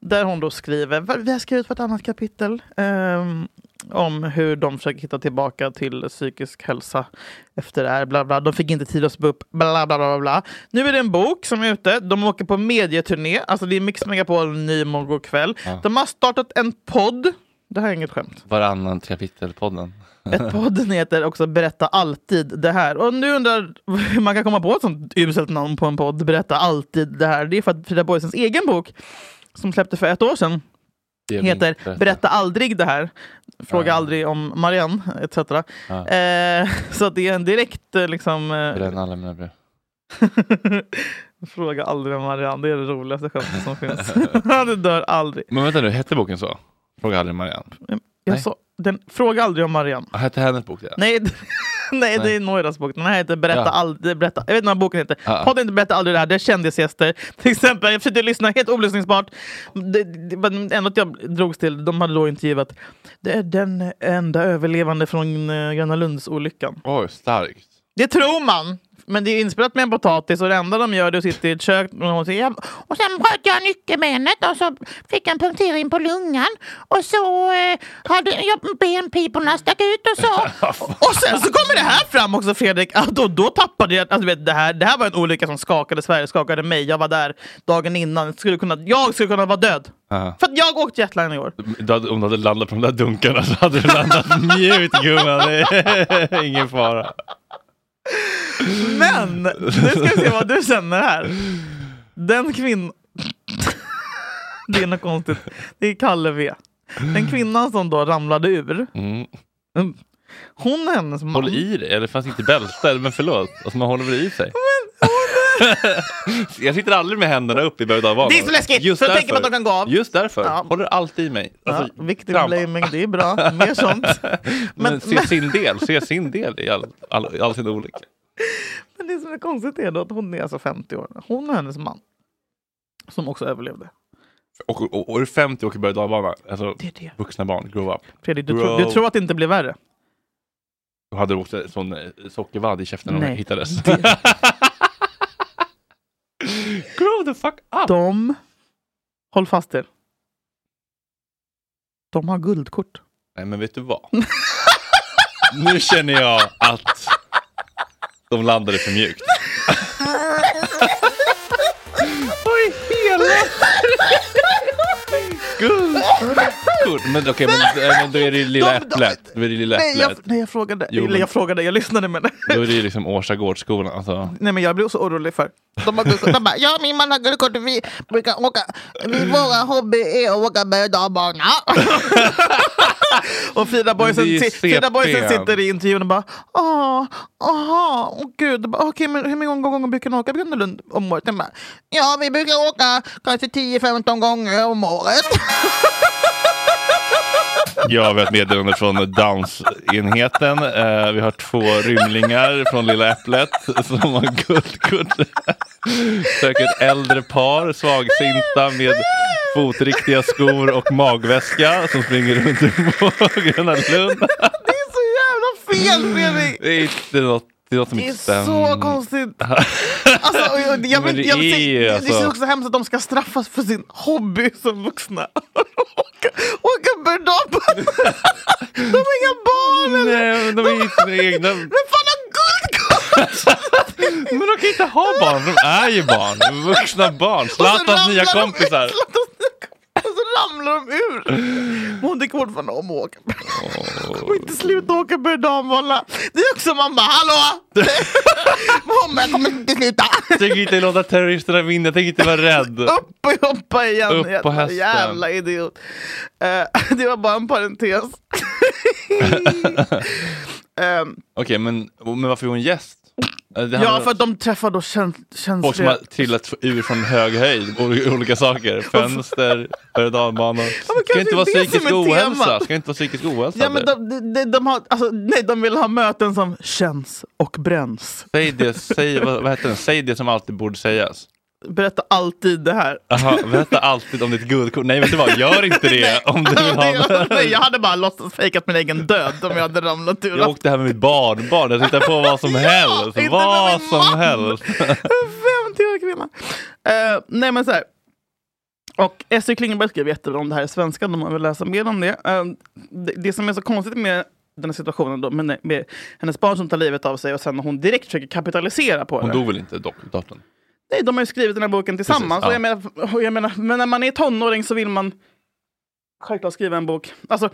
Speaker 1: Där hon då skriver, vi har skrivit vartannat kapitel ehm, om hur de försöker hitta tillbaka till psykisk hälsa efter det här. Bla bla. De fick inte tid att spå upp. Bla, bla, bla, bla, bla. Nu är det en bok som är ute. De åker på medieturné. Alltså det är Mix Megapol, Nymål går kväll.
Speaker 2: Ja.
Speaker 1: De har startat en podd. Det här är inget skämt.
Speaker 2: Varannan kapitel-podden.
Speaker 1: Ett podden heter också Berätta alltid det här. Och nu undrar hur man kan komma på ett sånt uselt namn på en podd, Berätta alltid det här. Det är för att Frida Boisens egen bok, som släpptes för ett år sedan,
Speaker 2: Det är
Speaker 1: heter
Speaker 2: inte rätt.
Speaker 1: Berätta aldrig det här. Fråga
Speaker 2: Ja.
Speaker 1: aldrig om Marianne, etc.
Speaker 2: Ja.
Speaker 1: Eh, så att det är en direkt eh, liksom... Eh,
Speaker 2: Bränn alla mina brev.
Speaker 1: fråga aldrig om Marianne, det är det roligaste skämtet som finns. det dör aldrig.
Speaker 2: Men vänta nu, hette boken så? Fråga aldrig Marianne.
Speaker 1: Jag sa, den, fråga aldrig om Marianne.
Speaker 2: Ah, Hette hennes bok det?
Speaker 1: Nej, d- nej, det
Speaker 2: Nej.
Speaker 1: är Noiras bok. Den här heter Berätta
Speaker 2: Ja.
Speaker 1: aldrig. Berätta. Jag vet inte vad boken heter.
Speaker 2: Ja.
Speaker 1: Podden heter Berätta aldrig det här. Det är kändisgäster. Till exempel, jag försökte lyssna helt olyssningsbart. Det, det, men ändå att jag drogs till, de hade då intervjuat. Det är den enda överlevande från eh, Gröna Lunds-olyckan.
Speaker 2: Oj, starkt.
Speaker 1: Det tror man! Men det är inspelat med en potatis och det enda de gör är att sitta i ett kök och hon säger "Jag-
Speaker 16: Och sen bröt jag nyckelbenet och så fick jag en punktering på lungan. Och så eh, hade jag benpiporna stack ut och så.
Speaker 1: Och sen så kommer det här fram också Fredrik, att då, då tappade jag, alltså, du vet, det, här, det här var en olycka som skakade Sverige, skakade mig, jag var där dagen innan, skulle kunna, jag skulle kunna vara död.
Speaker 2: Ja.
Speaker 1: För att jag åkte jetline i år.
Speaker 2: Ah. Du hade, om du hade landat på de där dunkarna så hade du landat mjukt gumman. Det är ingen fara.
Speaker 1: Men nu ska vi se vad du känner här. Den kvinnan... Det är något konstigt. Det är Kalle V. Den kvinnan som då ramlade ur,
Speaker 2: Mm.
Speaker 1: hon och hennes man...
Speaker 2: Håll i dig, eller fanns inte bälte, eller- men förlåt. Alltså man håller väl i sig. jag sitter aldrig med händerna upp i berg och dalbanan.
Speaker 1: Det är så läskigt, för då tänker man att de kan gå av.
Speaker 2: Just därför.
Speaker 1: Ja.
Speaker 2: Håller alltid i mig. Alltså,
Speaker 1: ja, victim
Speaker 2: trampa.
Speaker 1: blaming, det är bra. Mer sånt.
Speaker 2: men,
Speaker 1: men-
Speaker 2: se sin del, se sin del i all, all, all sin olycka.
Speaker 1: Men det som är konstigt är då att hon är alltså 50 år. Hon och hennes man. Som också överlevde.
Speaker 2: Och, och, och är du 50 och åker berg och dalbana, alltså,
Speaker 1: Det är det.
Speaker 2: vuxna barn, grow up.
Speaker 1: Fredrik, du,
Speaker 2: Grow
Speaker 1: tror- du tror att det inte blir värre?
Speaker 2: Då hade du också en sån eh, sockervadd i käften när
Speaker 1: Nej.
Speaker 2: de hittades.
Speaker 1: Grow the fuck up! De, håll fast er. De har guldkort.
Speaker 2: Nej men vet du vad? nu känner jag att de landade för mjukt.
Speaker 1: Oj,
Speaker 2: Cool. Men okej, men, eh, men då är det ju lilla äpplet. Då är det ju lilla
Speaker 1: Nej jag,
Speaker 2: äpplet.
Speaker 1: nej, jag frågade.
Speaker 2: Jo,
Speaker 1: Eller
Speaker 2: men-
Speaker 1: jag frågade, jag lyssnade men...
Speaker 2: Då är det ju liksom Årsta gårdsskolan. Alltså.
Speaker 1: Nej men jag blev så orolig för... De har guldkort. De bara, ja min man har guldkort vi brukar åka... Vi, våra hobby är att åka berg och dalbana. Och Frida Boisen,
Speaker 16: Det är ju
Speaker 1: si- Frida
Speaker 16: CPN.
Speaker 1: Boisen sitter i intervjun och bara Åh, aha, åh gud. Bara, Okej, men hur många gånger- gånger brukar ni åka Gröna Lund om året? Den bara,
Speaker 16: Ja, vi brukar åka kanske 10-15 gånger om året.
Speaker 2: Jag har ett meddelande från Downs-enheten. Eh, vi har två rymlingar från Lilla Äpplet som har guldkort. Söker ett äldre par, svagsinta med fotriktiga skor och magväska som springer runt på Gröna Lund.
Speaker 1: Fel Fredrik!
Speaker 2: Det är inte något, det är något som
Speaker 1: Det är
Speaker 2: inte stämmer.
Speaker 1: så konstigt. Alltså, och jag, jag,
Speaker 2: Men
Speaker 1: vill-
Speaker 2: det
Speaker 1: jag, vill
Speaker 2: är
Speaker 1: se-
Speaker 2: ju
Speaker 1: det- Det
Speaker 2: alltså-
Speaker 1: känns också hemskt att de ska straffas för sin hobby som vuxna. åka åka berg-och-dalbana. De är inga barn!
Speaker 2: Nej, men de är inte sina egna.
Speaker 1: Men fan har guldkort!
Speaker 2: men de kan inte ha barn, de är ju barn. Vuxna barn. Zlatans nya kompisar.
Speaker 1: Och så ramlar rullar de ur. Men hon tycker fortfarande om att åka Och inte sluta åka berg och dalbana. Det är också man bara, hallå! Mamma, jag kommer inte sluta.
Speaker 2: Tänk inte låta terroristerna vinna, tänk inte vara rädd.
Speaker 1: Upp och hoppa igen.
Speaker 2: Upp på hästen.
Speaker 1: Jävla idiot. Eh, det var bara en parentes. Ehm,
Speaker 2: Okej, men, men varför är hon gäst? Äh, Det handlar
Speaker 1: ja,
Speaker 2: om
Speaker 1: för att de träffar då käns-
Speaker 2: Folk som
Speaker 1: känsliga...
Speaker 2: har trillat ur från hög höjd, ol- olika saker. Fönster, berg och dalbanor. Ska
Speaker 1: kanske
Speaker 2: inte vara
Speaker 1: det är det som
Speaker 2: psykisk
Speaker 1: är
Speaker 2: ohälsa?
Speaker 1: temat.
Speaker 2: Ska inte vara psykisk ohälsa?
Speaker 1: Ja, men
Speaker 2: där?
Speaker 1: de, de, de, de, har, alltså, nej, de vill ha möten som känns och bränns.
Speaker 2: Säg det, säg, vad, vad heter den? säg det som alltid borde sägas.
Speaker 1: Berätta alltid det här.
Speaker 2: Aha, berätta alltid om ditt guldkort. Nej, vet du vad? Gör inte det om du vill ha
Speaker 1: Nej, jag hade bara låtsas fejkat min egen död om jag hade ramlat ur.
Speaker 2: Jag åkte här med mitt barnbarn, jag tittar på vad som helst.
Speaker 1: inte
Speaker 2: Vad som helst.
Speaker 1: Vem till kvinna? Eh, nej men så här. Och S.E. Klingberg skrev jättebra om det här i svenskan om man vill läsa mer om det. Eh, det. Det som är så konstigt med den här situationen då, med, med hennes barn som tar livet av sig och sen hon direkt försöker kapitalisera på
Speaker 2: Hon
Speaker 1: det.
Speaker 2: dog väl inte, dock, dottern?
Speaker 1: Nej, de har ju skrivit den här boken tillsammans.
Speaker 2: ja.
Speaker 1: och jag menar, och jag menar, men när man är tonåring så vill man självklart skriva en bok. Alltså,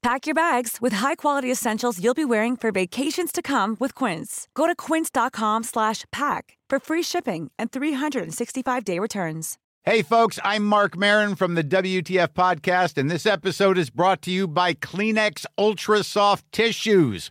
Speaker 17: Pack your bags with high-quality essentials you'll be wearing for vacations to come with Quince. Go to quince.com slash pack for free shipping and 365-day returns.
Speaker 18: Hey, folks, I'm Mark Marin from the WTF Podcast, and this episode is brought to you by Kleenex Ultra Soft Tissues,